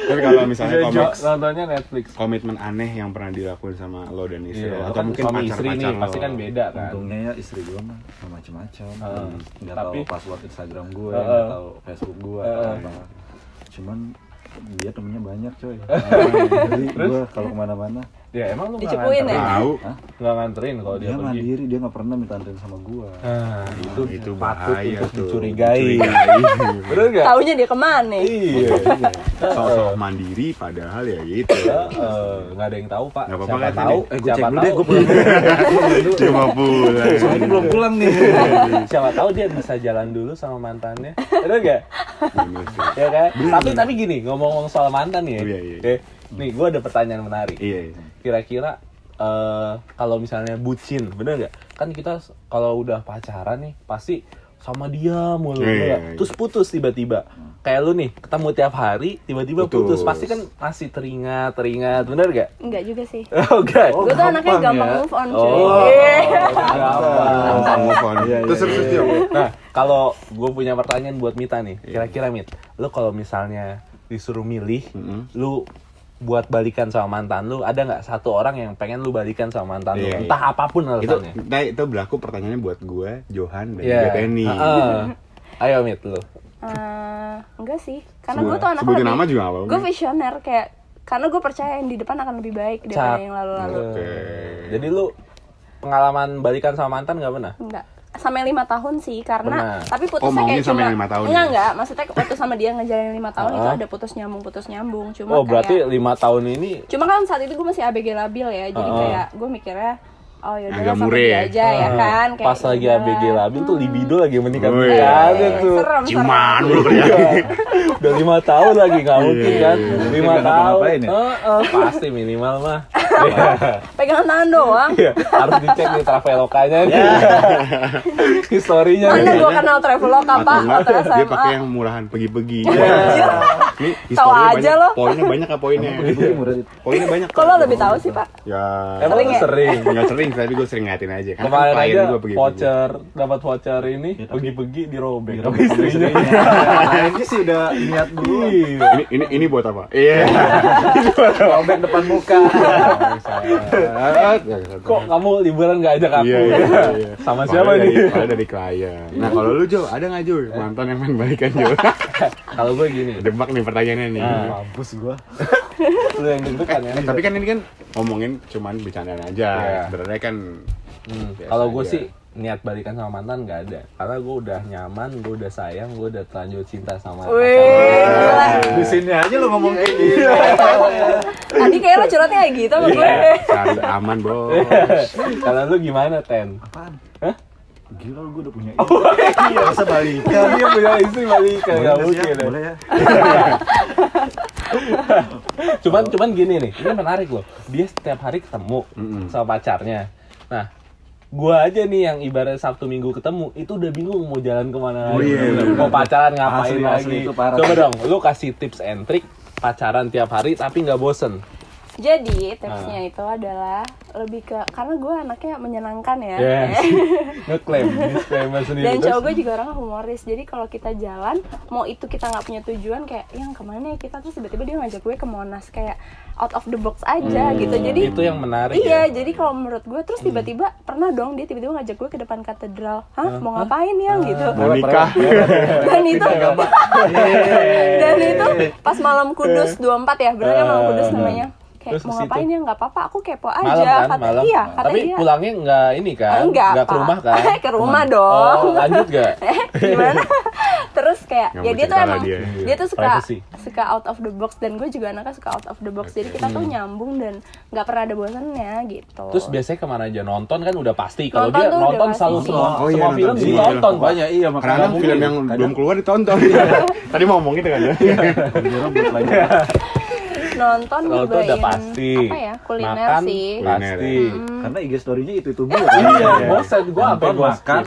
Speaker 2: Tapi kalau misalnya
Speaker 4: Iya, Jo,
Speaker 2: komik
Speaker 4: Nontonnya Netflix.
Speaker 2: komitmen aneh yang pernah dilakuin sama lo dan istri
Speaker 4: Iya,
Speaker 2: lo
Speaker 4: lo
Speaker 2: atau
Speaker 4: kan
Speaker 2: mungkin
Speaker 4: suami
Speaker 2: pacar
Speaker 4: istri nih,
Speaker 2: pacar lo.
Speaker 4: pasti kan beda kan.
Speaker 3: Untungnya ya istri gua mah nggak macem-macem
Speaker 4: Heeh. Ah, Tapi-
Speaker 3: Nggak
Speaker 4: Ah,
Speaker 3: tahu password Instagram gue,
Speaker 4: Heeh.
Speaker 3: nggak tahu Facebook gue atau
Speaker 4: Heeh.
Speaker 3: apa Cuman dia temennya banyak
Speaker 4: Ah,
Speaker 3: coy Jadi gue kalau kemana-mana
Speaker 4: Ya emang lu nggak
Speaker 1: Dicepuin ya?
Speaker 4: nganterin?
Speaker 2: Tahu.
Speaker 4: Nggak nganterin kalau dia,
Speaker 3: Dia
Speaker 4: pergi.
Speaker 3: mandiri, dia nggak pernah minta anterin sama gue
Speaker 4: Ah, itu
Speaker 2: itu
Speaker 4: patut
Speaker 2: bahaya
Speaker 4: untuk
Speaker 2: tuh.
Speaker 4: dicurigai.
Speaker 2: Dicurigai.
Speaker 4: Bener nggak?
Speaker 1: Taunya dia kemana?
Speaker 4: Iya.
Speaker 2: Sosok mandiri padahal ya gitu.
Speaker 4: Heeh, Eh, Nggak ada yang tahu pak.
Speaker 2: Nggak apa-apa,
Speaker 4: Siapa
Speaker 2: kan,
Speaker 4: tahu?
Speaker 3: Eh gue cek
Speaker 4: siapa
Speaker 3: dulu
Speaker 4: tahu?
Speaker 3: deh, gue pulang
Speaker 2: Cuma pulang.
Speaker 4: Iya,
Speaker 3: Soalnya belum pulang nih
Speaker 4: siapa tahu dia bisa jalan dulu sama mantannya. Bener nggak?
Speaker 2: Bener sih.
Speaker 4: Ya kan? Tapi tapi gini, ngomong-ngomong soal mantan ya.
Speaker 2: Iya, iya.
Speaker 4: eh, Nih, gue ada pertanyaan menarik.
Speaker 2: Iya. iya.
Speaker 4: kira-kira eh kalau misalnya bucin bener nggak kan kita s- kalau udah pacaran nih pasti sama dia mulu
Speaker 2: Iya,
Speaker 4: bener
Speaker 2: iya,
Speaker 4: nggak?
Speaker 2: iya.
Speaker 4: terus putus tiba-tiba kayak lu nih ketemu tiap hari tiba-tiba putus.
Speaker 2: Putus.
Speaker 4: pasti kan masih teringat teringat bener gak
Speaker 1: Enggak juga sih.
Speaker 4: Oke.
Speaker 2: Oh.
Speaker 1: gue tuh anaknya
Speaker 3: gampang
Speaker 1: gampang
Speaker 3: ya.
Speaker 1: move on cuy.
Speaker 4: Oh,
Speaker 1: Iya.
Speaker 4: gampang.
Speaker 2: Gampang move on.
Speaker 3: Iya, iya,
Speaker 2: Terus terus terus, Jo.
Speaker 4: Nah, kalau gue punya pertanyaan buat Mita nih,
Speaker 2: Iya.
Speaker 4: kira-kira Mit, lu kalau misalnya disuruh milih, lu buat balikan sama mantan lu, ada nggak satu orang yang pengen lu balikan sama mantan lu?
Speaker 2: Iya, iya.
Speaker 4: Entah apapun
Speaker 2: itu
Speaker 4: alasannya.
Speaker 2: nah, itu berlaku pertanyaannya buat gue Johan dan
Speaker 4: Iya.
Speaker 2: juga Denny
Speaker 4: Heeh. Ayo Mit, lu.
Speaker 1: Eh, enggak sih, karena
Speaker 2: Sebut-
Speaker 1: gue tuh anak
Speaker 2: sebutin nama juga ya. nggak apa-apa.
Speaker 1: Gue visioner kayak karena gue percaya yang di depan akan lebih baik daripada
Speaker 4: Cak.
Speaker 1: yang lalu-lalu.
Speaker 2: Oke. Iya.
Speaker 4: Jadi lu pengalaman balikan sama mantan nggak pernah?
Speaker 1: Enggak. Sampai lima tahun sih karena
Speaker 4: Pernah.
Speaker 1: tapi putusnya
Speaker 2: Oh, maunya
Speaker 1: kayak
Speaker 2: sampai
Speaker 1: cuma
Speaker 2: yang lima tahun
Speaker 1: enggak
Speaker 2: ya?
Speaker 1: enggak maksudnya waktu sama dia ngejalin lima tahun itu
Speaker 4: Ah.
Speaker 1: ada putus nyambung putus nyambung cuma
Speaker 4: Oh, berarti
Speaker 1: kayak
Speaker 4: lima tahun ini
Speaker 1: cuma kan saat itu gue masih ABG labil ya jadi
Speaker 4: Ah.
Speaker 1: kayak gue mikirnya oh yaudah
Speaker 2: Agak Iya.
Speaker 1: lah, sama
Speaker 2: mure
Speaker 1: dia
Speaker 2: ya?
Speaker 1: aja ya
Speaker 4: eh,
Speaker 1: kan kayak
Speaker 4: pas lagi
Speaker 1: yaudahlah.
Speaker 4: ABG labil tuh libido lagi meningkat
Speaker 2: Wih.
Speaker 4: meningkat tuh.
Speaker 1: serem
Speaker 2: ciuman
Speaker 1: serem.
Speaker 2: mulu
Speaker 4: Iya.
Speaker 2: ya
Speaker 4: Udah lima tahun lagi nggak mungkin kan?
Speaker 3: Mungkin
Speaker 4: Lima
Speaker 3: nggak
Speaker 4: tahun.
Speaker 3: ngapa-ngapain ya?
Speaker 4: Heeh, pasti minimal mah
Speaker 1: Pegangan tangan doang.
Speaker 4: Iya, harus dicek nih travelokanya nih.
Speaker 2: iya,
Speaker 4: Historinya
Speaker 1: Mana
Speaker 4: nih.
Speaker 1: gua kenal traveloka pak waktu
Speaker 2: enggak, dia
Speaker 1: SMA.
Speaker 2: pakai yang murahan pergi-pergi.
Speaker 4: Iya.
Speaker 2: Ini
Speaker 1: Tahu
Speaker 2: historinya
Speaker 1: aja
Speaker 2: banyak,
Speaker 1: lo.
Speaker 2: poinnya banyak apa poinnya?
Speaker 4: Iya.
Speaker 3: Pergi murah Iya, itu.
Speaker 2: Poinnya banyak.
Speaker 1: Kok lo lebih tahu sih pak?
Speaker 2: Ya.
Speaker 4: Emang
Speaker 1: Sering ya?
Speaker 4: sering.
Speaker 2: Enggak sering, tapi gue sering ngeliatin aja. Karena
Speaker 4: Kemarin
Speaker 2: klien
Speaker 4: aja
Speaker 2: gua pergi-pergi.
Speaker 4: voucher, dapat voucher ini, pergi-pergi dirobek. Sama istrinya.
Speaker 3: Nah, ini sih udah niat dulu.
Speaker 4: Iya.
Speaker 2: Ini, ini, ini buat apa? Iya.
Speaker 4: Robek depan muka. Kok kamu liburan gak ajak aku?
Speaker 2: Iya, iya, iya.
Speaker 4: Sama
Speaker 2: Soalnya
Speaker 4: siapa
Speaker 2: dari-
Speaker 4: nih?
Speaker 2: soalnya dari klien. Nah, kalau lu Jo, ada nggak Jo mantan yang main balikan Jo?
Speaker 4: Kalau gue gini,
Speaker 2: Demak nih pertanyaannya nih.
Speaker 4: Nah.
Speaker 3: Mampus gua.
Speaker 4: lu yang deg-degan ya.
Speaker 2: Eh, tapi kan ini kan ngomongin cuman bercandaan aja.
Speaker 4: Iya.
Speaker 2: Sebenarnya kan
Speaker 4: Hmm,
Speaker 2: Biasa
Speaker 4: Kalau gue
Speaker 2: aja.
Speaker 4: sih niat balikan sama mantan nggak ada, karena gue udah nyaman, gue udah sayang, gue udah terlanjur cinta sama
Speaker 1: Wih, gila.
Speaker 3: Di
Speaker 2: Eh,
Speaker 3: sini aja lu ngomong kayak gitu.
Speaker 1: Tadi kayak lo curhatnya kayak gitu
Speaker 2: Iya.
Speaker 1: sama gue.
Speaker 2: cari aman, Bos.
Speaker 4: pasangan. Kalau lu gimana Ten?
Speaker 3: Apaan? Hah? Gila lu gua udah punya
Speaker 4: Oh,
Speaker 3: ini. Iya, masa balikan.
Speaker 4: Dia punya istri balikan,
Speaker 3: Boleh
Speaker 4: nggak
Speaker 3: nggak sih ya?
Speaker 4: mungkin. ya.
Speaker 3: Boleh ya?
Speaker 4: Cuman cuman gini nih, ini menarik loh. Dia setiap hari ketemu sama pacarnya. Nah, gua aja nih yang ibarat Sabtu Minggu ketemu itu udah bingung mau jalan kemana lagi,
Speaker 3: iya,
Speaker 4: mau pacaran ngapain
Speaker 3: Asli,
Speaker 4: lagi.
Speaker 3: asli, itu parah.
Speaker 4: Coba dong, lu kasih tips and trick pacaran tiap hari tapi nggak bosen.
Speaker 1: Jadi tipsnya
Speaker 4: Ah.
Speaker 1: itu adalah lebih ke karena gue anaknya menyenangkan ya.
Speaker 4: Yes. Ngeklaim disclaimer sendiri.
Speaker 1: Dan
Speaker 4: Terus-
Speaker 1: cowok gue juga orangnya humoris. Jadi kalau kita jalan, mau itu kita nggak punya tujuan kayak yang kemana ya kita terus tiba-tiba dia ngajak gue ke Monas kayak out of the box aja gitu. Jadi
Speaker 4: Hmm, itu yang menarik
Speaker 1: Iya,
Speaker 4: ya. Hmm.
Speaker 1: jadi kalau menurut gue terus tiba-tiba pernah dong dia tiba-tiba ngajak gue ke depan katedral. Hah, mau ngapain ya
Speaker 4: Ah,
Speaker 1: gitu.
Speaker 2: Mau nikah.
Speaker 1: Dan itu Dan itu
Speaker 4: Iya.
Speaker 1: pas malam Kudus 24 ya, benar kan malam Kudus namanya. Kayak
Speaker 4: Ah, Terus
Speaker 1: mau
Speaker 4: ke situ.
Speaker 1: ngapain ya nggak apa-apa, aku kepo aja.
Speaker 4: malam kan
Speaker 1: kata
Speaker 4: malam
Speaker 1: iya, kata
Speaker 4: tapi
Speaker 1: dia. "Ah,
Speaker 4: pulangnya nggak ini kan
Speaker 1: Enggak,
Speaker 4: nggak ke
Speaker 1: Pak.
Speaker 4: rumah kan
Speaker 1: ke rumah dong.
Speaker 4: oh lanjut gak
Speaker 1: Eh, gimana? Terus kayak ya
Speaker 2: Nggak mau
Speaker 1: dia tuh
Speaker 2: cerita
Speaker 1: emang
Speaker 2: lah dia. iya.
Speaker 1: dia. tuh suka
Speaker 4: Privacy.
Speaker 1: suka out of the box dan gue juga anaknya suka out of the box. Jadi kita tuh nyambung dan nggak pernah ada bosannya gitu.
Speaker 4: Hmm. terus biasanya kemana aja nonton kan udah pasti kalau
Speaker 1: Nonton
Speaker 4: dia
Speaker 1: tuh udah
Speaker 4: nonton
Speaker 1: pasti
Speaker 4: selalu
Speaker 1: sih.
Speaker 4: semua
Speaker 2: Oh iya,
Speaker 4: semua
Speaker 2: nonton
Speaker 4: film
Speaker 2: semua.
Speaker 4: ditonton banyak
Speaker 3: iya
Speaker 2: Karena film yang belum keluar ditonton. Tadi mau ngomong gitu kan ya.
Speaker 3: belum buat lagi.
Speaker 4: Iya.
Speaker 1: nonton
Speaker 4: Nonton
Speaker 1: nyobain
Speaker 4: udah pasti
Speaker 1: apa ya kuliner
Speaker 4: makan
Speaker 1: sih. Hmm,
Speaker 4: pasti
Speaker 2: iya.
Speaker 3: Karena IG story-nya itu itu mulu.
Speaker 4: iya bosan gua apa
Speaker 3: nonton
Speaker 4: bosan
Speaker 3: makan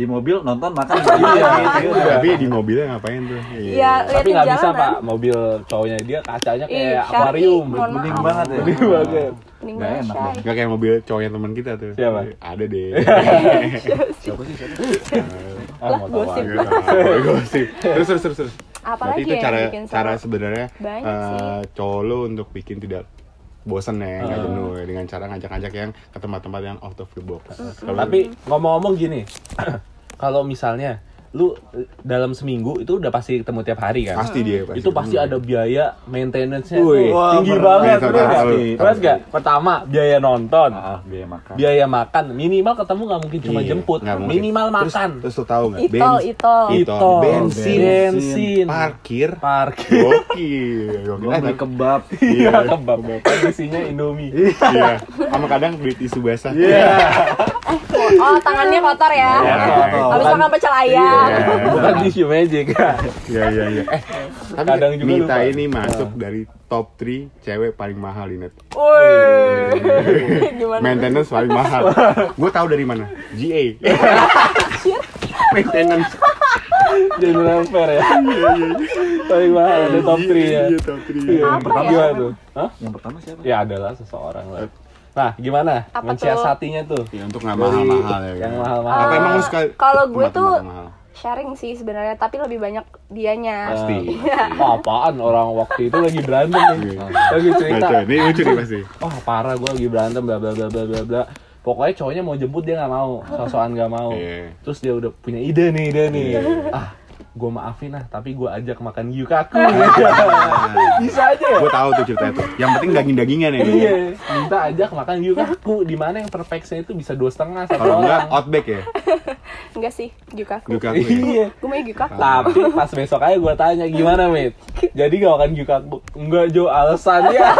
Speaker 3: di mobil nonton makan
Speaker 4: Iya,
Speaker 3: gitu.
Speaker 2: Tapi di mobilnya ngapain tuh? Iya.
Speaker 1: Ya
Speaker 4: tapi
Speaker 1: liatin
Speaker 4: nggak bisa
Speaker 1: jalanan.
Speaker 4: pak mobil cowoknya dia kacanya
Speaker 1: Ih,
Speaker 4: kayak
Speaker 1: Syari,
Speaker 4: akuarium
Speaker 1: mohon
Speaker 3: Bening
Speaker 1: maaf.
Speaker 3: banget ya.
Speaker 4: Bening banget.
Speaker 1: Mending
Speaker 3: Nggak
Speaker 1: gue
Speaker 3: enak
Speaker 1: shy.
Speaker 3: dong.
Speaker 2: Gak kayak mobil cowoknya teman kita tuh.
Speaker 4: Siapa?
Speaker 2: Ada deh.
Speaker 3: Siapa sih? siapa?
Speaker 4: Ah,
Speaker 1: Lah,
Speaker 4: mau tahu
Speaker 1: gosip.
Speaker 4: aja.
Speaker 2: Gue Iya. Oh, sih. Terus terus terus. terus.
Speaker 1: Apalagi
Speaker 2: Berarti itu
Speaker 1: ya
Speaker 2: cara
Speaker 1: bikin seru?
Speaker 2: cara sebenarnya
Speaker 1: Banyak sih.
Speaker 2: eh, cowok lo untuk bikin tidak bosan ya,
Speaker 4: Ah.
Speaker 2: nggak jenuh ya, dengan cara ngajak-ngajak yang ke tempat-tempat yang out of the box. Kalau-
Speaker 4: Tapi ngomong-ngomong gini, kalau misalnya lu eh, dalam seminggu itu udah pasti ketemu tiap hari kan?
Speaker 2: ya, Pasti dia, pasti.
Speaker 4: Itu pasti ada biaya maintenance-nya tuh
Speaker 3: Wih, wah,
Speaker 4: tinggi
Speaker 3: berat.
Speaker 4: banget.
Speaker 2: Berat,
Speaker 4: Berat, berat,
Speaker 2: berat, berat.
Speaker 4: nggak? Pertama biaya nonton,
Speaker 3: Ah, biaya makan.
Speaker 4: biaya makan, minimal ketemu nggak mungkin cuma
Speaker 2: Iya,
Speaker 4: jemput,
Speaker 2: nggak mungkin.
Speaker 4: minimal
Speaker 2: Terus-
Speaker 4: makan.
Speaker 2: Terus lo tahu nggak?
Speaker 1: Itol,
Speaker 2: Bens-
Speaker 1: itol.
Speaker 2: itol,
Speaker 4: bensin,
Speaker 2: bensin, Iya,
Speaker 4: bensin,
Speaker 2: parkir,
Speaker 4: parkir,
Speaker 2: gokil, gokil.
Speaker 3: Gua
Speaker 2: Eh,
Speaker 3: beli kebab.
Speaker 4: iya, kebab, Kan isinya Indomie.
Speaker 2: Iya, sama kadang beli tisu basah.
Speaker 4: Iya.
Speaker 1: Oh, tangannya kotor ya.
Speaker 2: Iya.
Speaker 1: Habis makan pecel ayam.
Speaker 4: Iya. Bukan tisu magic.
Speaker 2: Iya, iya, iya. Eh, tapi
Speaker 4: Kadang juga
Speaker 2: Mita
Speaker 4: lupa.
Speaker 2: ini masuk dari top 3 cewek paling mahal di net.
Speaker 1: Woi.
Speaker 4: Iya.
Speaker 1: Gimana?
Speaker 2: Maintenance paling mahal. Gue tahu dari mana? GA. Maintenance.
Speaker 4: General fair ya. Paling mahal ada top 3 ya.
Speaker 2: Iya, top 3.
Speaker 4: Yang pertama gimana tuh? Hah?
Speaker 3: Yang pertama siapa?
Speaker 4: Ya adalah seseorang lah. Nah, gimana?
Speaker 1: Apa
Speaker 4: Mensiasatinya tuh.
Speaker 2: Ya, untuk nggak mahal-mahal ya.
Speaker 4: Yang
Speaker 2: kan?
Speaker 4: mahal-mahal.
Speaker 2: Apa emang lu suka?
Speaker 1: Kalau gue
Speaker 2: tempat-tempat
Speaker 1: tuh
Speaker 2: yang mahal?
Speaker 1: sharing sih sebenarnya, tapi lebih banyak
Speaker 4: Ah.
Speaker 1: dianya.
Speaker 2: Pasti.
Speaker 4: Wah, apaan orang waktu itu lagi berantem nih. lagi cerita.
Speaker 2: Nah, coy, ini lucu nih pasti.
Speaker 4: Oh, parah gue lagi berantem bla bla bla bla bla bla. Pokoknya cowoknya mau jemput dia nggak mau, sosokan nggak mau.
Speaker 2: Iya.
Speaker 4: Terus dia udah punya ide nih, ide nih. Ah, gue maafin lah, tapi gue ajak makan yukaku.
Speaker 2: Iya.
Speaker 4: Bisa aja ya.
Speaker 2: Gue tahu tuh ceritanya tuh. Yang penting daging-dagingan ya.
Speaker 4: Iya, minta ajak makan yukaku. Di mana yang perfectnya itu bisa dua setengah satu
Speaker 2: Kalau enggak
Speaker 4: orang.
Speaker 2: outback ya.
Speaker 1: Enggak sih, Jukaku.
Speaker 2: Duka aku. ya.
Speaker 4: Iya.
Speaker 1: Gue mau Jukaku.
Speaker 4: Tapi pas besok aja gue tanya gimana Mit? Jadi gak makan Gyukakbu? Enggak Jo, alasannya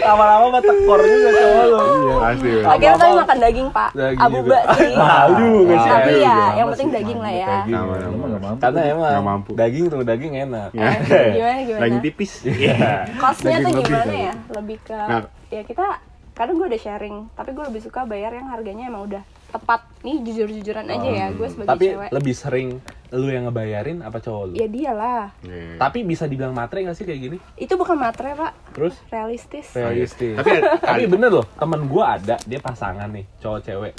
Speaker 4: Lama-lama mah tekor juga cowok lo
Speaker 2: Pasti. ya. Bang.
Speaker 1: Akhirnya tapi
Speaker 4: Apa-apa.
Speaker 1: makan daging, Pak.
Speaker 4: Daging
Speaker 1: Abuba
Speaker 4: juga.
Speaker 1: sih.
Speaker 4: Aduh, kasihan.
Speaker 1: Tapi ya,
Speaker 2: Aduh,
Speaker 1: yang penting daging lah ya.
Speaker 2: Daging.
Speaker 3: Sama,
Speaker 4: Iya.
Speaker 3: sama. Gak mampu.
Speaker 4: Karena emang
Speaker 2: Nggak mampu.
Speaker 4: daging tuh daging enak
Speaker 2: Ya.
Speaker 1: Gimana, gimana?
Speaker 2: Daging tipis. Iya.
Speaker 1: Costnya tuh
Speaker 4: Nah.
Speaker 2: Daging lebih
Speaker 1: gimana
Speaker 2: kali.
Speaker 1: ya? Lebih ke
Speaker 2: Nah.
Speaker 1: ya kita kadang gue udah sharing tapi gue lebih suka bayar yang harganya emang udah tepat nih jujur jujuran aja ya gue sebagai
Speaker 4: Ah. Tapi
Speaker 1: cewek
Speaker 4: lebih sering lu yang ngebayarin apa cowok lu?
Speaker 1: ya dialah
Speaker 2: Iya.
Speaker 4: Tapi bisa dibilang matre gak sih kayak gini?
Speaker 1: itu bukan matre pak
Speaker 4: Terus?
Speaker 1: realistis
Speaker 4: Realistis.
Speaker 2: Tapi ada-
Speaker 4: Tapi bener loh, temen gue ada, dia pasangan nih, cowok cewek.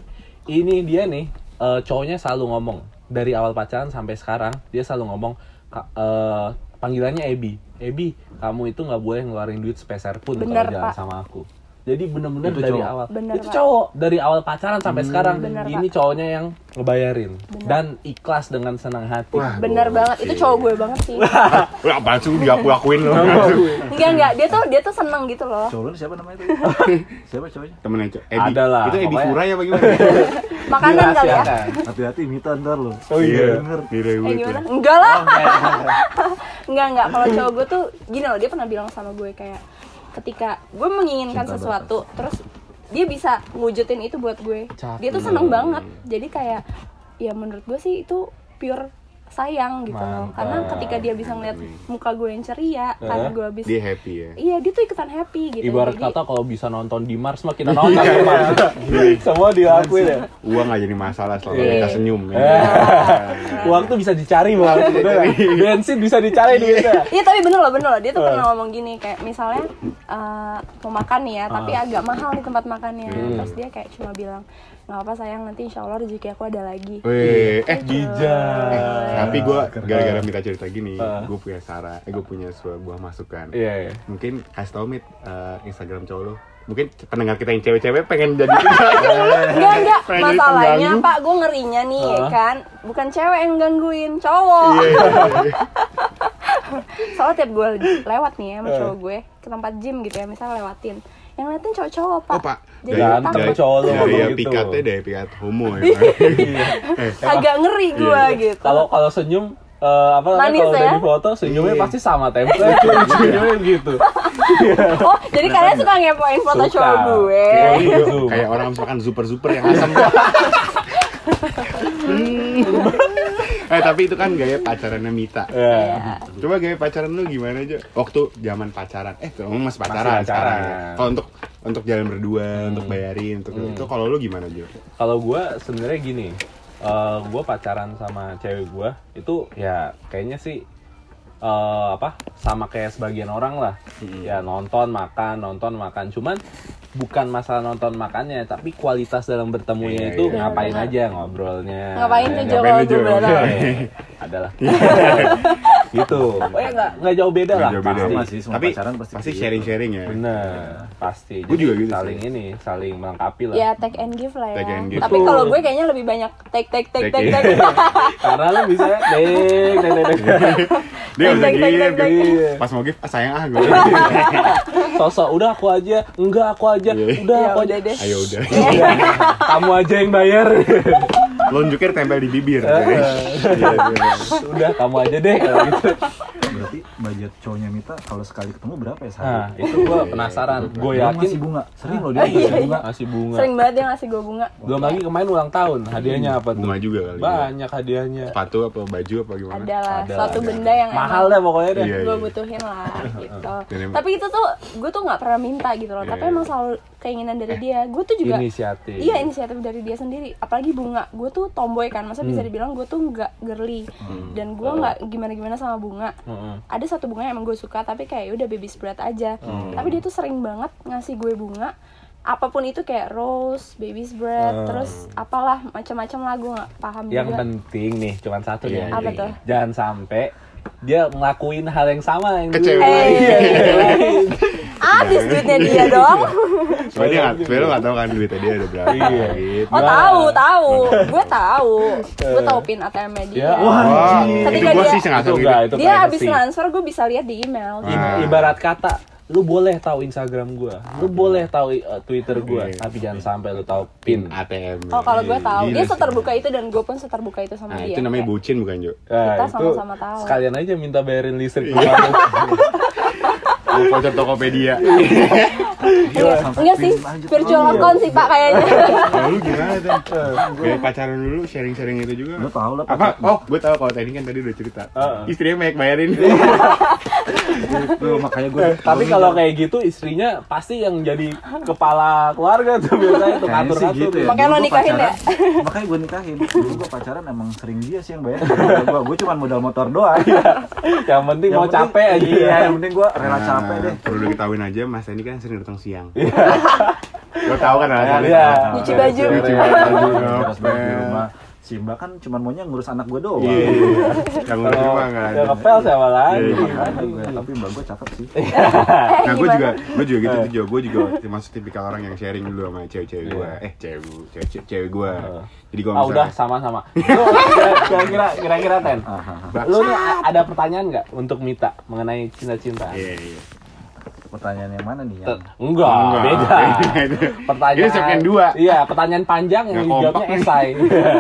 Speaker 4: Ini dia nih, eh, cowoknya selalu ngomong dari awal pacaran sampai sekarang, dia selalu ngomong "Ka- eh, panggilannya Ebi. Ebi, kamu itu nggak boleh ngeluarin duit sepeser pun
Speaker 1: Bener,
Speaker 4: kalau jalan
Speaker 1: Pak.
Speaker 4: sama aku. Jadi bener-bener
Speaker 3: Itu
Speaker 4: dari
Speaker 3: cowok. Hmm.
Speaker 4: awal.
Speaker 1: Bener,
Speaker 4: itu
Speaker 1: Pak.
Speaker 4: cowok dari awal pacaran sampai sekarang.
Speaker 1: Bener,
Speaker 4: ini cowoknya yang ngebayarin
Speaker 1: Bener.
Speaker 4: dan ikhlas dengan senang hati.
Speaker 1: bener banget itu cowok gue banget sih
Speaker 2: Wah, apaan sih lu diaku-akuin lu?
Speaker 1: enggak enggak dia tuh dia tuh seneng gitu loh
Speaker 3: Cowok lu siapa namanya itu? siapa cowoknya?
Speaker 2: Temennya cowok Ebi.
Speaker 4: Ada lah,
Speaker 2: Itu Ebi
Speaker 4: pokoknya. Iya,
Speaker 2: Fura ya apa gimana?
Speaker 1: makanan kali ya
Speaker 4: Dirahasiakan.
Speaker 3: Hati-hati Mita ntar lo.
Speaker 4: Oh iya.
Speaker 3: Denger.
Speaker 1: Eh
Speaker 2: Direbut ya.
Speaker 1: gimana? Enggak lah. enggak enggak. Kalau cowok gue tuh gini loh, dia pernah bilang sama gue kayak ketika gue menginginkan
Speaker 3: Cinta
Speaker 1: sesuatu, terus dia bisa ngewujudin itu buat gue. Dia tuh seneng banget. Jadi kayak ya menurut gue sih itu pure sayang gitu loh.
Speaker 4: Mantap.
Speaker 1: Karena ketika dia bisa ngeliat muka gue yang ceria, karena gue habis
Speaker 2: Dia happy ya.
Speaker 1: Iya, dia tuh ikutan happy gitu.
Speaker 4: Ibarat
Speaker 1: Jadi-
Speaker 4: kata kalau bisa nonton di Mars mah kita nonton di Mars.
Speaker 3: Iya.
Speaker 4: Semua dilakuin ya.
Speaker 2: Uang gak jadi masalah selama
Speaker 1: Iya.
Speaker 2: kita senyum ya.
Speaker 4: Uang tuh bisa dicari bang. Bener nggak? Bensin bisa dicari di kita.
Speaker 1: Iya tapi bener loh bener loh dia tuh pernah ngomong gini kayak misalnya eh, mau makan nih
Speaker 2: Ah.
Speaker 1: ya tapi agak mahal di tempat makannya
Speaker 2: Hmm.
Speaker 1: terus dia kayak cuma bilang nggak apa sayang nanti insya Allah rezeki aku ada lagi.
Speaker 2: Weh, eh
Speaker 4: Bijak. Ah.
Speaker 2: tapi gue gara-gara minta cerita gini, gue punya saran, eh, gue punya sebuah masukan.
Speaker 4: Iya. iya.
Speaker 2: Mungkin kasih tau mit eh, Instagram cowok lu. Mungkin pendengar kita yang cewek-cewek pengen jadi Iya,
Speaker 1: Enggak enggak
Speaker 2: Pengen jadi
Speaker 1: masalahnya
Speaker 2: pengganggu. Ah.
Speaker 1: pak gue ngerinya nih ya
Speaker 4: Hah?
Speaker 1: kan bukan cewek yang gangguin cowok.
Speaker 2: iya, iya.
Speaker 1: Soalnya tiap gue lewat nih ya
Speaker 2: Eh.
Speaker 1: sama cowok gue ke tempat gym gitu ya misalnya lewatin yang ngeliatin cowok-cowok pak.
Speaker 2: Oh pak,
Speaker 1: Jadi
Speaker 2: dari-
Speaker 1: takut.
Speaker 2: dari-
Speaker 4: Iya, cowok lu
Speaker 2: dari
Speaker 4: ngomong gitu.
Speaker 2: ya
Speaker 4: Iya.
Speaker 2: pikatnya dari pikat homo ya. Pak. Eh,
Speaker 1: agak ngeri
Speaker 2: Iya,
Speaker 1: gue gitu.
Speaker 4: Kalau kalau senyum eh, apa namanya
Speaker 1: Manis
Speaker 4: kalau udah
Speaker 1: ya?
Speaker 4: di foto senyumnya pasti sama template senyumnya gitu
Speaker 1: Oh jadi kalian suka ngepoin foto
Speaker 4: Suka.
Speaker 1: cowok gue.
Speaker 2: Kayak
Speaker 4: Iya.
Speaker 2: gitu. Kayak orang makan super-super yang asam. Hmm. eh tapi itu kan gaya pacarannya Mita.
Speaker 4: Iya.
Speaker 2: Coba gaya pacaran lu gimana aja? Waktu zaman pacaran. Eh, kamu masih
Speaker 4: pacaran.
Speaker 2: pacaran sekarang. ya? Kalau untuk untuk jalan berdua, untuk bayarin, untuk itu kalau lu gimana Jo?
Speaker 4: kalau gue sebenarnya gini eh gue pacaran sama cewek gue itu ya kayaknya sih eh apa sama kayak sebagian orang lah
Speaker 2: Hmm.
Speaker 4: ya nonton makan nonton makan cuman bukan masalah nonton makannya tapi kualitas dalam bertemunya
Speaker 2: Iya,
Speaker 4: itu
Speaker 2: iya.
Speaker 4: ngapain aja ngobrolnya
Speaker 1: Ngapain tuh
Speaker 4: Ya,
Speaker 1: Jo
Speaker 2: ngapain
Speaker 1: kalau gue
Speaker 2: lu, Jo?
Speaker 1: batal?
Speaker 4: Eh, adalah gitu pokoknya nggak nggak jauh beda lah
Speaker 2: Jauh
Speaker 4: pasti. Hmm.
Speaker 3: Sama sih, semua
Speaker 2: Tapi
Speaker 3: pacaran pasti
Speaker 2: pasti
Speaker 3: gitu.
Speaker 2: sharing-sharing ya.
Speaker 4: bener pasti
Speaker 2: Gua juga gitu sih.
Speaker 4: saling ini saling melengkapi lah
Speaker 1: Ya take and give lah ya.
Speaker 2: Take and give.
Speaker 1: Tapi
Speaker 4: Betul.
Speaker 1: kalau gue kayaknya lebih banyak take take take take
Speaker 2: Take
Speaker 1: take.
Speaker 2: and-
Speaker 4: karena lu bisa deng deng deng, deng.
Speaker 2: Dia udah
Speaker 1: Thank, thank,
Speaker 2: give,
Speaker 1: thank, thank.
Speaker 2: give. Pas mau give, ah, sayang ah gue.
Speaker 4: sosok udah aku aja enggak aku aja
Speaker 2: Iya.
Speaker 4: udah
Speaker 1: Ya
Speaker 4: aku aja Iya.
Speaker 1: udah deh.
Speaker 2: Ayo udah.
Speaker 4: kamu aja yang bayar
Speaker 2: Lonjuknya tempel di
Speaker 4: Eh.
Speaker 2: bibir. Iya, iya.
Speaker 4: udah kamu aja deh kalau gitu
Speaker 3: Berarti budget cowoknya Mita kalau sekali ketemu berapa ya sehari?
Speaker 4: nah itu gua penasaran gue yakin
Speaker 3: Dia
Speaker 4: Iya,
Speaker 3: ngasih bunga. Sering loh dia ngasih bunga.
Speaker 4: masih bunga
Speaker 1: Sering banget dia ngasih gue bunga.
Speaker 4: belum lagi kemarin ulang tahun hadiahnya apa tuh
Speaker 2: Iya. Bunga juga kali. ya.
Speaker 4: banyak hadiahnya
Speaker 2: Sepatu apa baju apa gimana?
Speaker 1: Adalah
Speaker 4: Ada,
Speaker 1: suatu
Speaker 4: ada.
Speaker 1: benda yang
Speaker 4: mahal deh pokoknya deh
Speaker 2: Iya,
Speaker 1: gue
Speaker 2: iya.
Speaker 1: butuhin lah gitu.
Speaker 2: Dan emang-
Speaker 1: Tapi itu tuh gue tuh nggak pernah minta gitu loh.
Speaker 2: Iya,
Speaker 1: Tapi
Speaker 2: iya.
Speaker 1: emang selalu keinginan dari
Speaker 4: Eh,
Speaker 1: dia. Gue tuh juga
Speaker 4: inisiatif
Speaker 1: Iya inisiatif dari dia sendiri. Apalagi bunga, gue tuh tomboy kan, masa
Speaker 4: Hmm.
Speaker 1: bisa dibilang gue tuh nggak girly dan gue nggak gimana gimana sama bunga.
Speaker 4: Heeh.
Speaker 1: Ada satu bunga yang emang gue suka, tapi kayak ya udah baby spread aja.
Speaker 4: Hmm.
Speaker 1: Tapi dia tuh sering banget ngasih gue bunga. Apapun itu kayak rose, baby spread, terus apalah macam-macam lah gue nggak paham
Speaker 4: Hmm. yang
Speaker 1: juga.
Speaker 4: penting nih cuman satu nih
Speaker 2: Iya,
Speaker 1: Apa
Speaker 2: iya.
Speaker 1: tuh?
Speaker 4: jangan sampai dia ngelakuin hal yang sama yang dulu.
Speaker 2: Kecewa.
Speaker 1: Eh, iya, iya. Abis duitnya Ah, dia dong.
Speaker 2: Soalnya dia nggak- soalnya lo nggak tahu kan duitnya dia ada berapa.
Speaker 4: Iya.
Speaker 2: gitu.
Speaker 1: iya. Oh tahu tahu, gue tahu, gue tahu pin ATM-nya dia.
Speaker 4: Ya, wah,
Speaker 2: Wah,
Speaker 1: Ketika
Speaker 2: itu gue
Speaker 1: dia-
Speaker 2: sih sengaja
Speaker 4: itu
Speaker 2: gitu.
Speaker 4: enggak itu
Speaker 1: Dia abis
Speaker 4: privacy.
Speaker 1: transfer gue bisa lihat di email.
Speaker 4: I-
Speaker 2: Ah.
Speaker 4: ibarat kata lu boleh tahu Instagram gua, lu boleh tahu uh, Twitter gua,
Speaker 2: Iya.
Speaker 4: tapi jangan sampai lu tahu pin.
Speaker 2: Pin ATM.
Speaker 1: Oh kalau gue tahu,
Speaker 2: Gila
Speaker 1: dia
Speaker 2: sih.
Speaker 1: seterbuka itu dan gue pun seterbuka itu sama
Speaker 2: Nah,
Speaker 1: dia.
Speaker 2: itu namanya
Speaker 1: Kayak,
Speaker 2: bucin bukan, Jo?
Speaker 4: Nah,
Speaker 1: Kita sama-sama tahu.
Speaker 4: Sekalian aja minta bayarin listrik. Iya.
Speaker 2: voucher Tokopedia.
Speaker 1: Iya. Enggak sih, virtual account sih pak kayaknya.
Speaker 2: Iya. Nah, lu gimana
Speaker 1: Iya,
Speaker 2: tuh? Gaya pacaran dulu sharing-sharing itu juga.
Speaker 3: Lu tau lah
Speaker 2: Apa?
Speaker 3: pacar-
Speaker 2: Oh, gue tahu kalau tadi kan tadi udah cerita.
Speaker 4: Heeh.
Speaker 1: Uh-uh.
Speaker 2: Istrinya banyak bayarin.
Speaker 3: Lu, gitu, makanya gue
Speaker 4: Eh, Tapi kalau kayak gitu istrinya pasti yang jadi kepala keluarga tuh biasanya tuh
Speaker 3: Kayaknya
Speaker 4: ngatur
Speaker 3: sih gitu ya.
Speaker 1: Makanya
Speaker 3: Dulu
Speaker 1: lo
Speaker 3: gua
Speaker 1: nikahin
Speaker 3: pacaran- Makanya gue nikahin. Dulu gue pacaran emang sering dia sih yang bayar. gue gue cuma modal motor doang.
Speaker 4: Yang penting Iya,
Speaker 3: Yang
Speaker 4: mau
Speaker 3: penting-
Speaker 4: capek aja.
Speaker 3: Iya,
Speaker 4: ya.
Speaker 3: yang penting gue rela
Speaker 2: Nah,
Speaker 3: capek deh.
Speaker 2: Perlu diketahuin aja Mas ini kan sering datang siang.
Speaker 1: Iya.
Speaker 2: Lo tahu kan alasannya?
Speaker 4: Iya.
Speaker 1: Nyuci baju.
Speaker 2: Nyuci baju.
Speaker 3: Harus banget di
Speaker 2: ngepel.
Speaker 3: rumah. Simba kan cuma maunya ngurus anak gue doang.
Speaker 2: Iya. Yang ngurus
Speaker 4: Kalau
Speaker 2: rumah nggak ada.
Speaker 4: yang ngepel siapa lagi?
Speaker 2: Iya, iya.
Speaker 3: Makanya gue, tapi mbak gue cakep sih.
Speaker 1: Eh,
Speaker 2: Nah, gue
Speaker 1: gimana?
Speaker 2: juga, gue juga gitu
Speaker 4: Eh.
Speaker 2: tuh, gue juga termasuk tipikal orang yang sharing dulu sama cewek-cewek gue. Eh, cewek gue, cewek, cewek gue. Jadi kalau
Speaker 4: Iya. Ah
Speaker 2: misalnya,
Speaker 4: udah sama-sama. Lu kira- kira-kira kira-kira Ten.
Speaker 3: Nah,
Speaker 4: Lu nih a- ada pertanyaan nggak untuk Mita mengenai cinta-cinta?
Speaker 2: Iya, iya.
Speaker 3: Pertanyaan yang mana nih? Yang...
Speaker 4: Te- Enggak,
Speaker 2: Enggak.
Speaker 4: Ah, beda.
Speaker 2: Ini
Speaker 4: Pertanyaan
Speaker 2: segmen dua.
Speaker 4: Iya, pertanyaan panjang yang
Speaker 2: Nggak
Speaker 4: jawabnya
Speaker 2: kompak nih.
Speaker 4: esai.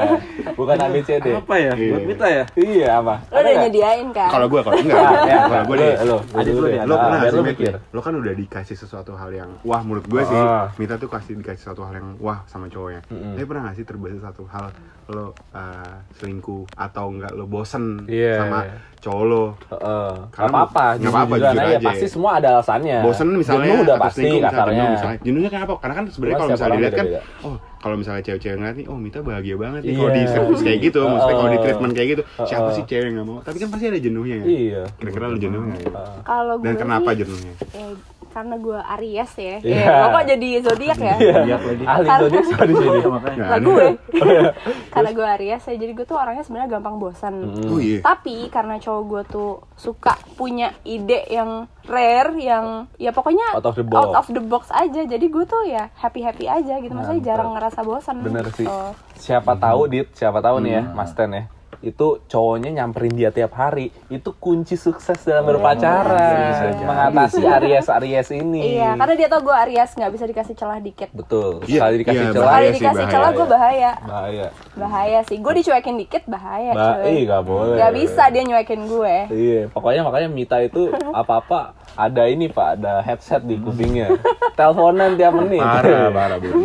Speaker 4: Bukan ABCD.
Speaker 3: Apa ya?
Speaker 2: Iya.
Speaker 3: Buat Mita ya?
Speaker 4: Iya, apa?
Speaker 1: Lo udah nyediain kan?
Speaker 2: Kalau gue, kalau enggak,
Speaker 4: Ah, ya,
Speaker 2: kalau gue deh.
Speaker 4: Lo,
Speaker 3: Ada dulu deh,
Speaker 2: Lo
Speaker 3: Ah,
Speaker 2: pernah
Speaker 4: biar
Speaker 2: sih
Speaker 4: lo
Speaker 2: Mit,
Speaker 4: mikir.
Speaker 2: Lo kan udah dikasih sesuatu hal yang wah menurut gue sih.
Speaker 4: Ah.
Speaker 2: Mita tuh kasih dikasih sesuatu hal yang wah sama cowoknya.
Speaker 4: Mm-mm.
Speaker 2: Tapi pernah gak sih terbesit satu hal lo eh, selingkuh atau enggak lo bosen
Speaker 4: Iya,
Speaker 2: sama
Speaker 4: iya.
Speaker 2: cowok lo?
Speaker 4: Heeh. Nggak
Speaker 2: Karena
Speaker 4: apa-apa,
Speaker 2: nggak apa-apa,
Speaker 4: jujur-jujuran
Speaker 2: jujur
Speaker 4: aja.
Speaker 2: aja.
Speaker 4: Pasti semua ada alasannya.
Speaker 2: bosen misalnya
Speaker 4: Iya. Jenuh udah
Speaker 2: atau
Speaker 4: pasti
Speaker 2: selingkuh misalnya,
Speaker 4: kasarnya.
Speaker 2: jenuh misalnya. jenuhnya kenapa karena kan sebenarnya
Speaker 4: Cuman
Speaker 2: kalau
Speaker 4: setiap
Speaker 2: misalnya
Speaker 4: orang
Speaker 2: dilihat kan
Speaker 4: beda-beda.
Speaker 2: oh kalau misalnya cewek-cewek ngeliat nih oh Mita bahagia banget nih kalau
Speaker 4: Iya.
Speaker 2: di service kayak gitu maksudnya kalau di
Speaker 4: Heeh.
Speaker 2: treatment kayak gitu siapa
Speaker 4: Heeh.
Speaker 2: sih cewek yang nggak mau tapi kan pasti ada jenuhnya ya
Speaker 4: Iya.
Speaker 2: kira-kira lo jenuh nggak ya?
Speaker 1: Kalau gue
Speaker 2: dan kenapa
Speaker 1: sih,
Speaker 2: jenuhnya
Speaker 1: eh, karena gue Aries ya.
Speaker 4: Iya.
Speaker 1: Eh, lo kok jadi zodiak ya?
Speaker 3: Iya lagi.
Speaker 4: Ahli
Speaker 1: Karena-
Speaker 4: zodiak siapa di sini?
Speaker 3: Iya, makanya.
Speaker 2: Nah,
Speaker 1: Lah gue.
Speaker 2: oh, iya.
Speaker 1: karena gue Aries ya, jadi gue tuh orangnya sebenarnya gampang bosan.
Speaker 4: Hmm.
Speaker 2: oh iya
Speaker 1: Tapi karena cowok gue tuh suka punya ide yang rare, yang ya pokoknya
Speaker 4: Out of the box.
Speaker 1: out of the box aja. Jadi gue tuh ya happy happy aja gitu. Maksudnya
Speaker 4: Mantap.
Speaker 1: jarang ngerasa bosan.
Speaker 4: Bener sih.
Speaker 1: gitu.
Speaker 4: Siapa tahu
Speaker 2: Hmm.
Speaker 4: Dit, siapa tahu nih ya, Mas Ten ya. Itu cowoknya nyamperin dia tiap hari. Itu kunci sukses
Speaker 2: Oh,
Speaker 4: dalam
Speaker 3: bisa
Speaker 4: berpacaran.
Speaker 3: jadi.
Speaker 4: Mengatasi Aries-Aries ini.
Speaker 1: Iya, karena dia tau gue Aries nggak bisa dikasih celah dikit.
Speaker 4: Betul.
Speaker 2: Iya,
Speaker 4: Sekali dikasih
Speaker 2: iya,
Speaker 4: celah.
Speaker 1: Kalau
Speaker 2: bahaya sih,
Speaker 1: dikasih
Speaker 2: bahaya,
Speaker 1: celah gue bahaya,
Speaker 4: Bahaya.
Speaker 1: bahaya sih. Gue dicuekin dikit bahaya.
Speaker 4: Ba-
Speaker 1: cuy.
Speaker 4: Ih, nggak boleh.
Speaker 1: Gak bisa dia nyuekin gue.
Speaker 4: Iya, pokoknya makanya Mita itu apa-apa ada ini Pak, ada headset di kupingnya. Teleponan tiap menit.
Speaker 2: parah parah belum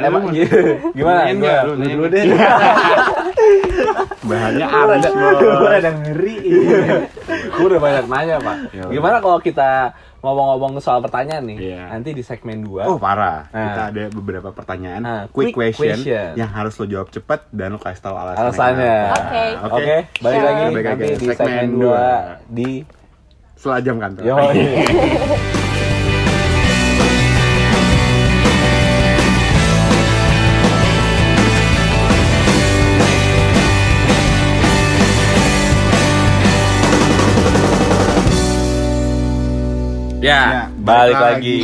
Speaker 4: Emang iya. gimana?
Speaker 2: Nanyain nggak? Lu
Speaker 4: Gimana?
Speaker 2: nanyain deh bahannya aris
Speaker 3: Gue ada ngeri.
Speaker 4: Gue udah banyak nanya pak.
Speaker 2: Iya,
Speaker 4: Gimana kalau kita ngomong-ngomong soal pertanyaan nih?
Speaker 2: Iya.
Speaker 4: Nanti di segmen 2
Speaker 2: Oh parah,
Speaker 4: Nah.
Speaker 2: kita ada beberapa pertanyaan
Speaker 4: Nah,
Speaker 2: quick,
Speaker 4: quick
Speaker 2: question,
Speaker 4: question.
Speaker 2: yang harus lo jawab cepat dan lo kasih tahu alasannya.
Speaker 4: Alasannya.
Speaker 2: kenapa.
Speaker 1: Oke.
Speaker 2: Oke,
Speaker 4: Oke, balik
Speaker 1: Sure.
Speaker 4: lagi
Speaker 2: Balik lagi
Speaker 4: nanti
Speaker 2: ke
Speaker 4: di
Speaker 2: segmen
Speaker 4: segmen
Speaker 2: dua.
Speaker 4: 2 di
Speaker 2: selajam kantor.
Speaker 4: Yo. Ya, Ya,
Speaker 2: Ya,
Speaker 4: balik lagi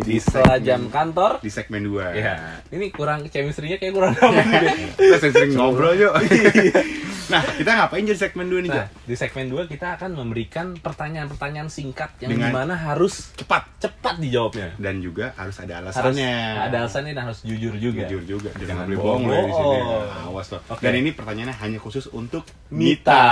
Speaker 4: di selajam kantor.
Speaker 2: di segmen 2
Speaker 4: Ya, Nah. ini kurang chemistry-nya kayak kurang dapet.
Speaker 2: Kita sering ngobrol yuk. nah, kita ngapain jadi segmen 2 nih, Jo?
Speaker 4: Nah, di segmen 2 kita akan memberikan pertanyaan-pertanyaan singkat yang
Speaker 2: Dengan-
Speaker 4: dimana harus
Speaker 2: Cepat.
Speaker 4: cepat dijawabnya.
Speaker 2: Dan juga harus ada
Speaker 4: Harus
Speaker 2: alasannya.
Speaker 4: ada alasannya dan harus jujur juga.
Speaker 2: jujur juga.
Speaker 4: Jangan
Speaker 2: Jangan boleh
Speaker 4: bohong.
Speaker 2: bohong lo di sini. Nah,
Speaker 4: Bohong.
Speaker 2: Awas lo.
Speaker 4: Oke.
Speaker 2: Dan ini pertanyaannya hanya khusus untuk
Speaker 4: Mita.
Speaker 2: Mita.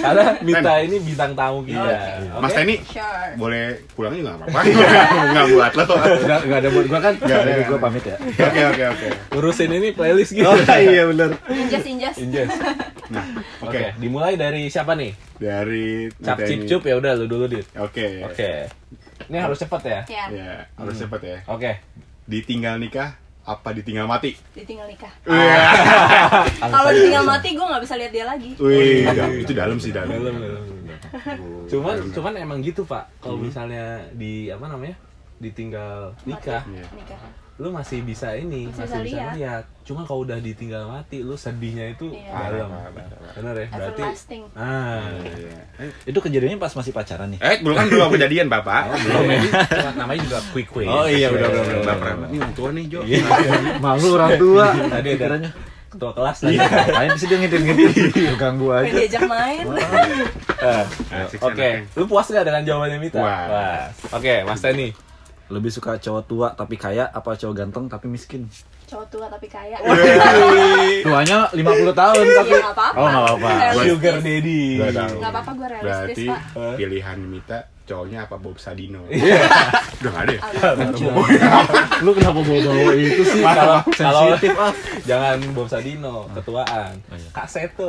Speaker 4: Karena Mita ini bintang tamu kita. Oke?
Speaker 2: Mas Tani,
Speaker 1: Sure.
Speaker 2: boleh pulang juga nggak apa-apa. Nggak buat lo.
Speaker 3: Enggak enggak ada buat gue kan.
Speaker 2: Nggak
Speaker 3: Enggak
Speaker 2: ada,
Speaker 3: ada
Speaker 2: nggak
Speaker 3: gue
Speaker 2: ada.
Speaker 3: pamit ya.
Speaker 2: Oke, oke, oke.
Speaker 4: urusin ini playlist gitu.
Speaker 2: Oh iya benar.
Speaker 1: Injas injas.
Speaker 4: Injes.
Speaker 2: Nah,
Speaker 4: Oke,
Speaker 2: oke.
Speaker 4: dimulai dari siapa nih?
Speaker 2: Dari
Speaker 4: Cap
Speaker 2: Mita
Speaker 4: cip
Speaker 2: ini.
Speaker 4: cup ya udah lu dulu dit.
Speaker 2: Oke.
Speaker 4: Oke. Ini harus cepet ya.
Speaker 1: Ya,
Speaker 2: Ya, harus cepet ya.
Speaker 4: Oke.
Speaker 2: Ditinggal nikah apa ditinggal mati?
Speaker 1: ditinggal nikah.
Speaker 2: Wih,
Speaker 1: Kalau ditinggal mati gue nggak bisa lihat dia lagi.
Speaker 2: Wih, dalam- itu dalam sih Oh, iya. dalam.
Speaker 4: Belum, belum, belum.
Speaker 2: Oh,
Speaker 4: Cuman cuman emang gitu, Pak.
Speaker 2: Hmm.
Speaker 4: Kalau misalnya di apa namanya? ditinggal nikah,
Speaker 2: Iya.
Speaker 1: Nikah.
Speaker 4: lu masih bisa ini,
Speaker 1: Masih
Speaker 4: masih,
Speaker 1: bisa
Speaker 4: bisa
Speaker 1: lihat.
Speaker 4: lihat. Cuma kalau udah ditinggal mati, lu sedihnya itu
Speaker 1: Iya.
Speaker 4: dalam.
Speaker 2: Parah, parah, parah.
Speaker 4: Bener ya? Berarti
Speaker 1: Everlasting.
Speaker 4: Ah.
Speaker 2: Iya.
Speaker 3: Itu kejadiannya pas masih pacaran ya? nih.
Speaker 2: Eh, belum kan belum kejadian, Bapak.
Speaker 4: Belum ya? Cuma namanya juga quick way.
Speaker 3: Oh iya udah udah udah.
Speaker 2: Bapak Iya. Ini orang tua nih, Jo.
Speaker 3: Malu orang tua.
Speaker 4: Tadi ada
Speaker 3: Pikirannya.
Speaker 4: ketua kelas lagi.
Speaker 3: Ngapain sih dia ngintip-ngintip ganggu
Speaker 1: Pengen
Speaker 3: aja.
Speaker 1: diajak main.
Speaker 4: Eh,
Speaker 2: Asik,
Speaker 4: Oke,
Speaker 2: enak,
Speaker 4: lu puas gak dengan jawabannya Mita?
Speaker 2: Puas.
Speaker 4: Oke, Mas Tani.
Speaker 3: lebih suka cowok tua tapi kaya apa cowok ganteng tapi miskin
Speaker 1: cowok tua tapi kaya
Speaker 3: tuanya 50 tahun tapi
Speaker 1: Iya, nggak apa-apa.
Speaker 3: oh nggak apa-apa
Speaker 1: Realistis.
Speaker 4: Sugar daddy.
Speaker 2: Gak tahu.
Speaker 1: Nggak apa-apa, gua realistis,
Speaker 2: Berarti
Speaker 1: Pak.
Speaker 2: pilihan Mita cowoknya apa Bob Sadino? Udah gak ada ya?
Speaker 3: lu kenapa bawa-bawa itu sih
Speaker 4: Kalau kalau
Speaker 3: sensitif ah
Speaker 4: jangan Bob Sadino, ketuaan. Kak Seto.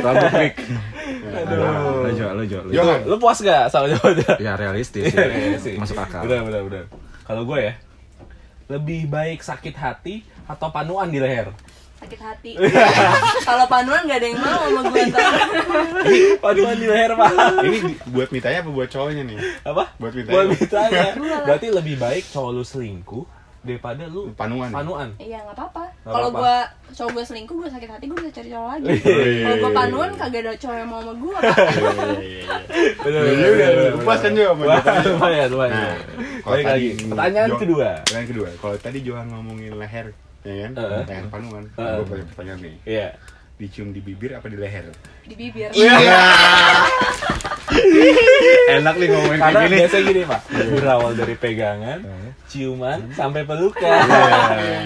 Speaker 3: rambut rik
Speaker 4: Aduh.
Speaker 3: lo jo lo jo lo jo.
Speaker 2: Johan.
Speaker 4: Lu puas gak sama jawabannya?
Speaker 3: ya realistis
Speaker 4: Iya,
Speaker 3: ya.
Speaker 4: iya sih.
Speaker 3: masuk akal
Speaker 4: Benar, benar, benar. Kalau gue ya, lebih baik sakit hati atau panuan di leher.
Speaker 1: sakit hati kalau panuan nggak ada yang mau sama gue ntar
Speaker 4: panuan di leher, Pak.
Speaker 2: Ini di- buat Mitanya apa buat cowoknya nih?
Speaker 4: Apa?
Speaker 2: Buat mintanya.
Speaker 4: Buat mintanya. Berarti lebih baik cowok lu selingkuh daripada lu
Speaker 2: Panuan.
Speaker 4: Panuan.
Speaker 1: iya nggak apa-apa
Speaker 4: Nggak
Speaker 1: kalau
Speaker 4: apa-apa.
Speaker 1: gue cowok gue selingkuh gue sakit hati gue bisa cari cowok lagi
Speaker 2: Wih.
Speaker 1: kalau gue panuan kagak ada cowok yang mau sama gue
Speaker 2: Iya, iya, iya.
Speaker 4: Benar,
Speaker 2: Lu udah lu puas kan Jo
Speaker 4: iya.
Speaker 2: sama
Speaker 4: Wah,
Speaker 2: jawabannya?
Speaker 4: lumayan, lumayan.
Speaker 2: Nah, kalau
Speaker 4: Balik lagi.
Speaker 2: tadi-
Speaker 4: Pertanyaan
Speaker 2: Jo-
Speaker 4: kedua.
Speaker 2: Pertanyaan kedua. Kalau tadi Johan ngomongin leher, ya kan?
Speaker 4: Heeh.
Speaker 2: Pertanyaan panungan.
Speaker 4: Heeh.
Speaker 2: Gue punya pertanyaan nih.
Speaker 4: Iya.
Speaker 2: Dicium di bibir apa di leher?
Speaker 1: di bibir
Speaker 2: Iya.
Speaker 3: enak nih ngomongin
Speaker 4: Karena biasanya gini, Pak. Berawal dari pegangan, ciuman, sampai Iya. pelukan.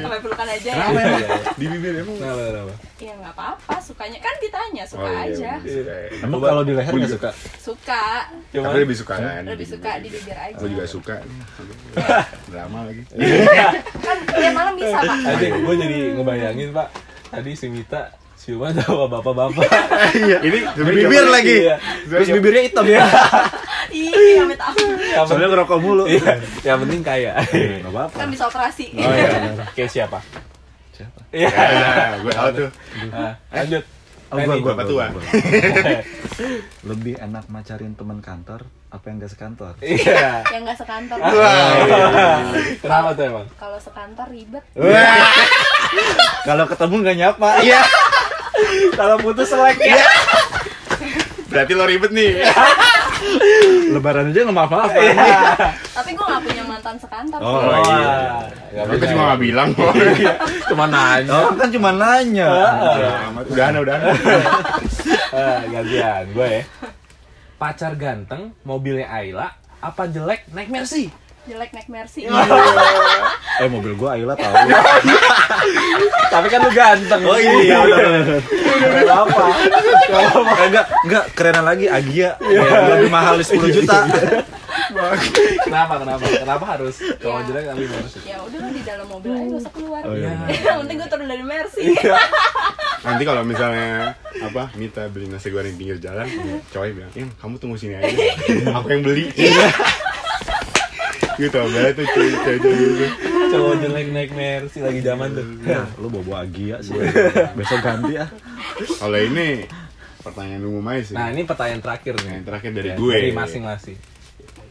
Speaker 1: sampai pelukan aja ya
Speaker 2: Kenapa emang? Di bibir emang?
Speaker 4: Kenapa, kenapa?
Speaker 1: ya nggak apa-apa sukanya kan ditanya suka
Speaker 2: Oh, iya,
Speaker 1: aja
Speaker 2: lebih suka ya.
Speaker 3: emang kalau di leher nggak suka
Speaker 1: suka
Speaker 4: Cuman,
Speaker 2: Tapi lebih suka kan?
Speaker 1: lebih suka di bibir aja
Speaker 2: Gue juga suka. Drama lagi.
Speaker 1: kan ya malam bisa pak
Speaker 4: aja gue jadi ngebayangin, Pak. Tadi si Mita ciuman sama bapak-bapak.
Speaker 2: Ini
Speaker 3: bibir lagi
Speaker 4: Iya.
Speaker 3: terus bibirnya hitam ya
Speaker 1: iya amit aku
Speaker 4: Yang penting-
Speaker 3: soalnya ngerokok mulu
Speaker 4: Iya, yang penting kaya.
Speaker 3: nggak apa-apa
Speaker 1: kan bisa operasi
Speaker 4: Oh iya. Kayak siapa? Siapa? Iya.
Speaker 2: gue tau Ya, tuh.
Speaker 4: Nah, lanjut.
Speaker 3: Oh, gua, gua,
Speaker 2: Apa
Speaker 3: gua,
Speaker 2: tuh,
Speaker 3: gua,
Speaker 2: ah?
Speaker 3: gua. lebih enak macarin teman kantor apa yang gak sekantor
Speaker 4: Iya.
Speaker 1: yang nggak sekantor
Speaker 4: Ah. Kenapa tuh emang?
Speaker 1: kalau sekantor ribet
Speaker 3: kalau ketemu nggak nyapa iya kalau putus selek
Speaker 2: Berarti lo ribet nih.
Speaker 3: lebaran aja nggak maaf maaf
Speaker 4: Iya.
Speaker 1: tapi gue nggak punya mantan sekantor
Speaker 3: Oh,
Speaker 1: sih.
Speaker 2: iya.
Speaker 4: Ya,
Speaker 2: Tapi cuma nggak bilang.
Speaker 4: Iya. cuma nanya.
Speaker 3: orang kan cuma nanya
Speaker 2: Udahan, udahan.
Speaker 4: Eh, gantian gue ya. Pacar ganteng, mobilnya Ayla, apa jelek naik Mercy?
Speaker 1: jelek naik mercy
Speaker 3: eh mobil gua Ayla tahu
Speaker 4: Tapi kan lu ganteng.
Speaker 3: oh iya
Speaker 4: Gak apa?
Speaker 3: enggak enggak Eh, kerenan lagi Agia yang lebih mahal 10 juta
Speaker 4: Kenapa? Kenapa? Kenapa harus cowok jelek tapi Mercy?
Speaker 1: ya udah lah di dalam mobil aja gak usah keluar
Speaker 3: Oh, iya,
Speaker 1: Yang penting gue turun dari mercy
Speaker 2: Nanti kalau misalnya apa Mita beli nasi goreng pinggir jalan, cowoknya bilang, "Im, kamu tunggu sini aja. Aku yang beli."
Speaker 4: Iya.
Speaker 2: gitu banget tuh cuy, cuy, cuy, cuy.
Speaker 4: Cowok jelek naik Mercy lagi zaman tuh.
Speaker 3: Ya, lu bobo Agia sih. Besok ganti ya.
Speaker 2: Kalau ini pertanyaan umum aja sih.
Speaker 4: Nah ini pertanyaan terakhir nih.
Speaker 2: Yang terakhir dari
Speaker 4: Ya,
Speaker 2: gue.
Speaker 4: Dari masing-masing.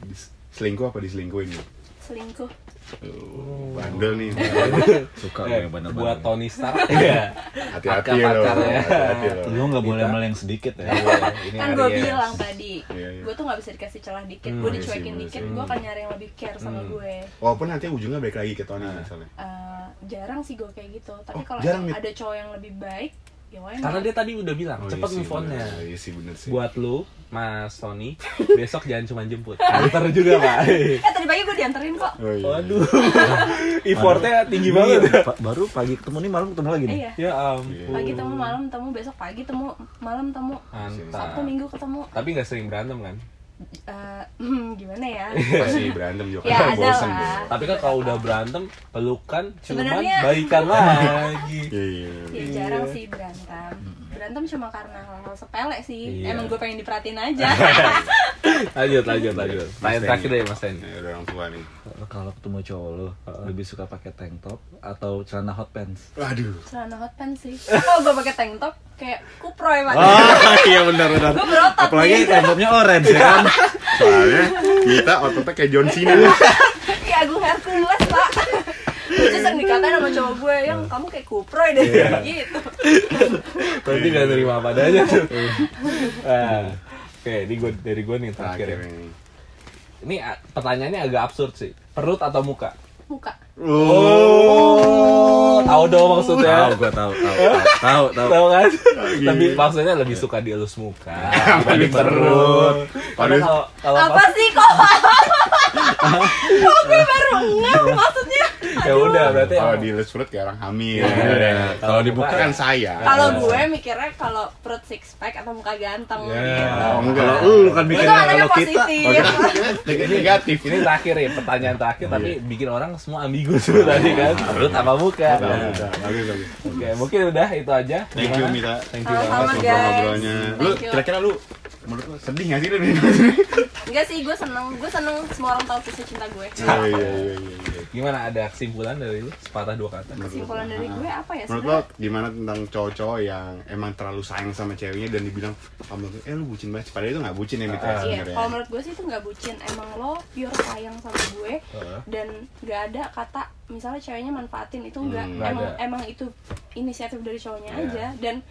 Speaker 2: Dis- selingkuh apa diselingkuhin?
Speaker 1: selingkuh
Speaker 4: Oh.
Speaker 2: Tuh, bandel nih.
Speaker 3: Suka
Speaker 4: Eh,
Speaker 3: gue bener-bener.
Speaker 4: buat Tony Stark. Iya.
Speaker 2: Hati-hati lo.
Speaker 4: Pacar-pacarnya.
Speaker 2: Hati-hati lo.
Speaker 4: Iya.
Speaker 3: Lu nggak boleh meleng sedikit ya.
Speaker 4: Ini
Speaker 1: kan gue
Speaker 4: Aries.
Speaker 1: bilang tadi
Speaker 2: Iya, iya.
Speaker 1: gue tuh nggak bisa dikasih celah dikit
Speaker 4: Hmm,
Speaker 1: gue
Speaker 2: iya sih,
Speaker 1: dicuekin
Speaker 2: iya
Speaker 1: dikit
Speaker 2: sih.
Speaker 1: gue akan nyari yang lebih care sama
Speaker 4: Hmm.
Speaker 1: gue
Speaker 2: Walaupun nanti ujungnya balik lagi ke Tony
Speaker 4: Nah.
Speaker 2: misalnya.
Speaker 1: Eh, jarang sih gue kayak gitu tapi
Speaker 2: Oh,
Speaker 1: kalau
Speaker 2: jarang, Mit.
Speaker 1: ada cowok yang lebih baik ya why
Speaker 4: Karena
Speaker 1: not?
Speaker 4: dia tadi udah bilang,
Speaker 2: Oh, iya
Speaker 4: cepet
Speaker 2: sih,
Speaker 4: move on-nya.
Speaker 2: bener. Iya sih bener sih.
Speaker 4: Buat lu, Mas Tony, besok jangan cuma jemput. Antar juga, Pak.
Speaker 1: eh tadi pagi gue dianterin kok
Speaker 2: Oh, iya.
Speaker 4: Waduh. Effortnya tinggi banget.
Speaker 3: Iya, Pak, baru pagi ketemu nih malam ketemu lagi nih.
Speaker 1: iya
Speaker 4: Ya
Speaker 2: Iya.
Speaker 4: ampun.
Speaker 1: pagi temu malam temu besok pagi temu malam temu
Speaker 4: Mantap.
Speaker 1: sabtu minggu ketemu
Speaker 4: Tapi nggak sering berantem kan?
Speaker 1: Eh, hmm, gimana ya
Speaker 2: Pasti berantem juga. kan?
Speaker 1: ya ada
Speaker 2: Bosen,
Speaker 1: lah
Speaker 2: Bo.
Speaker 4: Tapi kan kalau udah berantem, pelukan, cuman
Speaker 1: Sebenarnya-
Speaker 4: baikan lagi.
Speaker 2: Iya, iya, iya.
Speaker 1: Ya jarang sih berantem. Berantem cuma karena hal-hal sepele sih.
Speaker 4: Iya.
Speaker 1: Emang gue pengen diperhatiin aja.
Speaker 4: Lanjut, lanjut, lanjut. Tanya
Speaker 2: Mas
Speaker 4: terakhir
Speaker 2: Denny.
Speaker 4: deh, Mas Tony.
Speaker 2: Ya, udah orang tua nih.
Speaker 3: Kalau ketemu cowok lu lebih suka pakai tank top atau celana hot pants?
Speaker 2: Waduh.
Speaker 1: Celana hot pants sih. Kalau gue pakai tank top kayak kuproy
Speaker 2: Oh.
Speaker 1: pak.
Speaker 3: iya benar benar.
Speaker 1: Gue berotot
Speaker 3: Apalagi
Speaker 1: nih.
Speaker 3: tank topnya orange ya kan.
Speaker 2: Soalnya kita ototnya kayak John Cena.
Speaker 4: Iya.
Speaker 1: Kayak Agung Hercules pak. Gue sering dikatain sama cowok gue yang
Speaker 2: Iya.
Speaker 1: kamu kayak kuproy deh gitu.
Speaker 4: Berarti gak terima apa adanya tuh. Ah. Oke, ini gua- dari gue nih terakhir.
Speaker 2: Terakhir
Speaker 4: ya.
Speaker 2: ini.
Speaker 4: Ini a- pertanyaannya agak absurd sih. Perut atau muka?
Speaker 1: Muka.
Speaker 4: Oh, tahu dong
Speaker 3: Tahu
Speaker 4: maksudnya.
Speaker 3: gua tahu tahu tahu, tahu tahu.
Speaker 4: Tahu kan? Tapi maksudnya lebih suka dielus muka dibanding
Speaker 2: Perut.
Speaker 4: perut. Karena kalau kalau
Speaker 1: Apa
Speaker 4: pas-
Speaker 1: sih kok? Gue baru ngeh maksudnya.
Speaker 4: ya udah berarti
Speaker 2: Kalau di list perut kayak orang hamil.
Speaker 4: Iya.
Speaker 2: Kalau dibuka kan saya.
Speaker 1: Kalau gue mikirnya kalau perut six pack atau muka ganteng gitu.
Speaker 2: Oh, enggak.
Speaker 5: Kalau
Speaker 3: uh,
Speaker 5: lu kan
Speaker 1: Itu
Speaker 5: mikirnya
Speaker 1: anaknya
Speaker 5: kalau kita
Speaker 1: positif.
Speaker 2: Ini negatif.
Speaker 4: ini terakhir ya pertanyaan terakhir tapi bikin orang semua ambigu tuh tadi kan perut apa buka
Speaker 2: Nah, udah, bagus, bagus.
Speaker 4: oke mungkin udah itu aja
Speaker 2: Thank you Mita. Thank you
Speaker 1: Sama-sama,
Speaker 2: banget
Speaker 1: guys.
Speaker 2: ngobrol-ngobrolnya. Lu
Speaker 1: Thank you.
Speaker 2: kira-kira lu menurut lu sedih gak sih Iya, lu di-
Speaker 1: Enggak sih, gue seneng. Gue seneng semua orang tahu kisah cinta gue.
Speaker 2: Oh, iya iya iya iya.
Speaker 4: gimana ada kesimpulan dari lu sepatah dua kata
Speaker 1: Kesimpulan dari gue apa ya?
Speaker 2: Menurut lo gimana tentang cowok-cowok yang emang terlalu sayang sama ceweknya dan dibilang sama lo, eh lu bucin banget, padahal itu gak bucin ya Mita ya
Speaker 1: Iya,
Speaker 2: sebenarnya.
Speaker 1: kalau menurut gue sih itu nggak bucin. Emang lo pure sayang sama gue
Speaker 4: Heeh.
Speaker 1: dan nggak ada kata misalnya ceweknya manfaatin itu nggak.
Speaker 2: Hmm,
Speaker 4: nggak
Speaker 1: emang
Speaker 4: ada.
Speaker 1: emang itu inisiatif dari cowoknya
Speaker 4: Iya.
Speaker 1: aja dan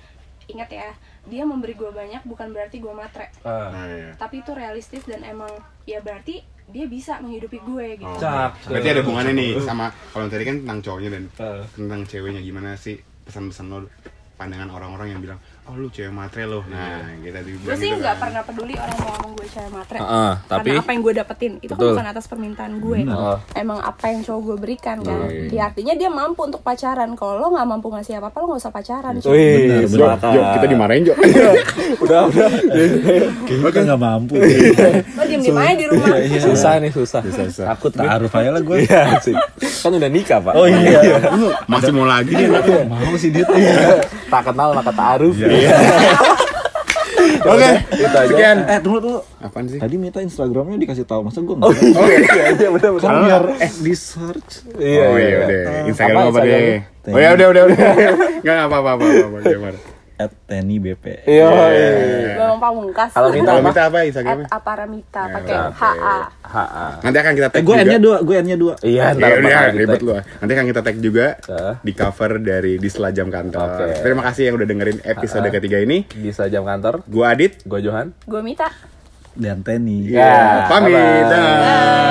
Speaker 1: ingat ya dia memberi gue banyak bukan berarti gue matre,
Speaker 4: Ah,
Speaker 2: Nah, iya.
Speaker 1: tapi itu realistis dan emang ya berarti dia bisa menghidupi gue gitu.
Speaker 2: Oh.
Speaker 4: Cakep.
Speaker 2: Berarti ada hubungannya nih sama kalau tadi kan tentang cowoknya dan
Speaker 4: Eh.
Speaker 2: tentang ceweknya gimana sih pesan-pesan lo pandangan orang-orang yang bilang oh lu cewek matre lo nah kita tadi
Speaker 1: Gue
Speaker 2: bilang
Speaker 1: Iya. sih
Speaker 2: gitu
Speaker 1: nggak
Speaker 2: kan.
Speaker 1: pernah peduli orang mau ngomong gue cewek matre.
Speaker 4: Heeh, tapi-
Speaker 1: Karena apa yang gue dapetin itu
Speaker 4: Betul.
Speaker 1: kan bukan atas permintaan gue.
Speaker 4: Heeh.
Speaker 1: Emang apa yang cowok gue berikan kan.
Speaker 4: Iya, iya.
Speaker 1: Ya artinya dia mampu untuk pacaran. Kalau lo nggak mampu ngasih apa-apa lo nggak usah pacaran. cuy.
Speaker 5: Wih,
Speaker 2: Jo, Jo, kita dimarahin Jo
Speaker 5: Udah, udah.
Speaker 3: Kayaknya kita kan nggak mampu.
Speaker 1: Lo diem-diem aja di
Speaker 4: Iya,
Speaker 1: rumah.
Speaker 4: susah nih susah
Speaker 2: susah.
Speaker 4: takut nih.
Speaker 3: Taruh aja lah gue.
Speaker 5: Iya sih. Kan udah nikah, Pak.
Speaker 3: Oh iya.
Speaker 2: masih mau lagi dia
Speaker 3: Mau sih dia tuh. Iya.
Speaker 4: tak Iya, kenal maka taaruf
Speaker 2: Iya. oke sekian
Speaker 3: Eh tunggu tuh.
Speaker 2: apaan sih
Speaker 3: Tadi minta Instagramnya dikasih tahu, masa gue nggak?
Speaker 5: Iya, iya, iya, bener, bener.
Speaker 3: Kan biar eh di search.
Speaker 5: Iya,
Speaker 2: oh
Speaker 5: iya,
Speaker 2: iya
Speaker 5: iya.
Speaker 2: udah Instagram
Speaker 4: Apa
Speaker 2: apa deh
Speaker 3: Instagram?
Speaker 2: oh ya udah udah udah nggak apa apa apa apa gimana
Speaker 3: At Teni BP.
Speaker 5: Iya, iya.
Speaker 1: Bang Pamungkas.
Speaker 4: Kalau minta
Speaker 2: Eh, kalau
Speaker 4: apa?
Speaker 2: minta apa
Speaker 1: At
Speaker 2: Instagramnya
Speaker 1: aparamita pakai
Speaker 4: Iya,
Speaker 2: Ya,
Speaker 1: HA.
Speaker 2: nanti akan kita
Speaker 3: Eh
Speaker 2: tag
Speaker 3: gue
Speaker 2: juga
Speaker 3: N-nya dua, gue N-nya dua.
Speaker 4: iya
Speaker 2: Iya,
Speaker 4: ntar
Speaker 2: udah,
Speaker 4: bakal
Speaker 2: ribet
Speaker 4: kita-
Speaker 2: lu. Nanti akan kita tag juga
Speaker 4: Heeh.
Speaker 2: di cover dari di selajam kantor.
Speaker 4: Oke.
Speaker 2: Terima kasih yang udah dengerin episode ketiga ini.
Speaker 4: bisa jam kantor
Speaker 2: Gua Adit.
Speaker 4: gue Johan
Speaker 1: Gue minta.
Speaker 3: Dan Teni.
Speaker 4: Ya,
Speaker 2: Pamit.
Speaker 4: bye-bye.
Speaker 2: Dah.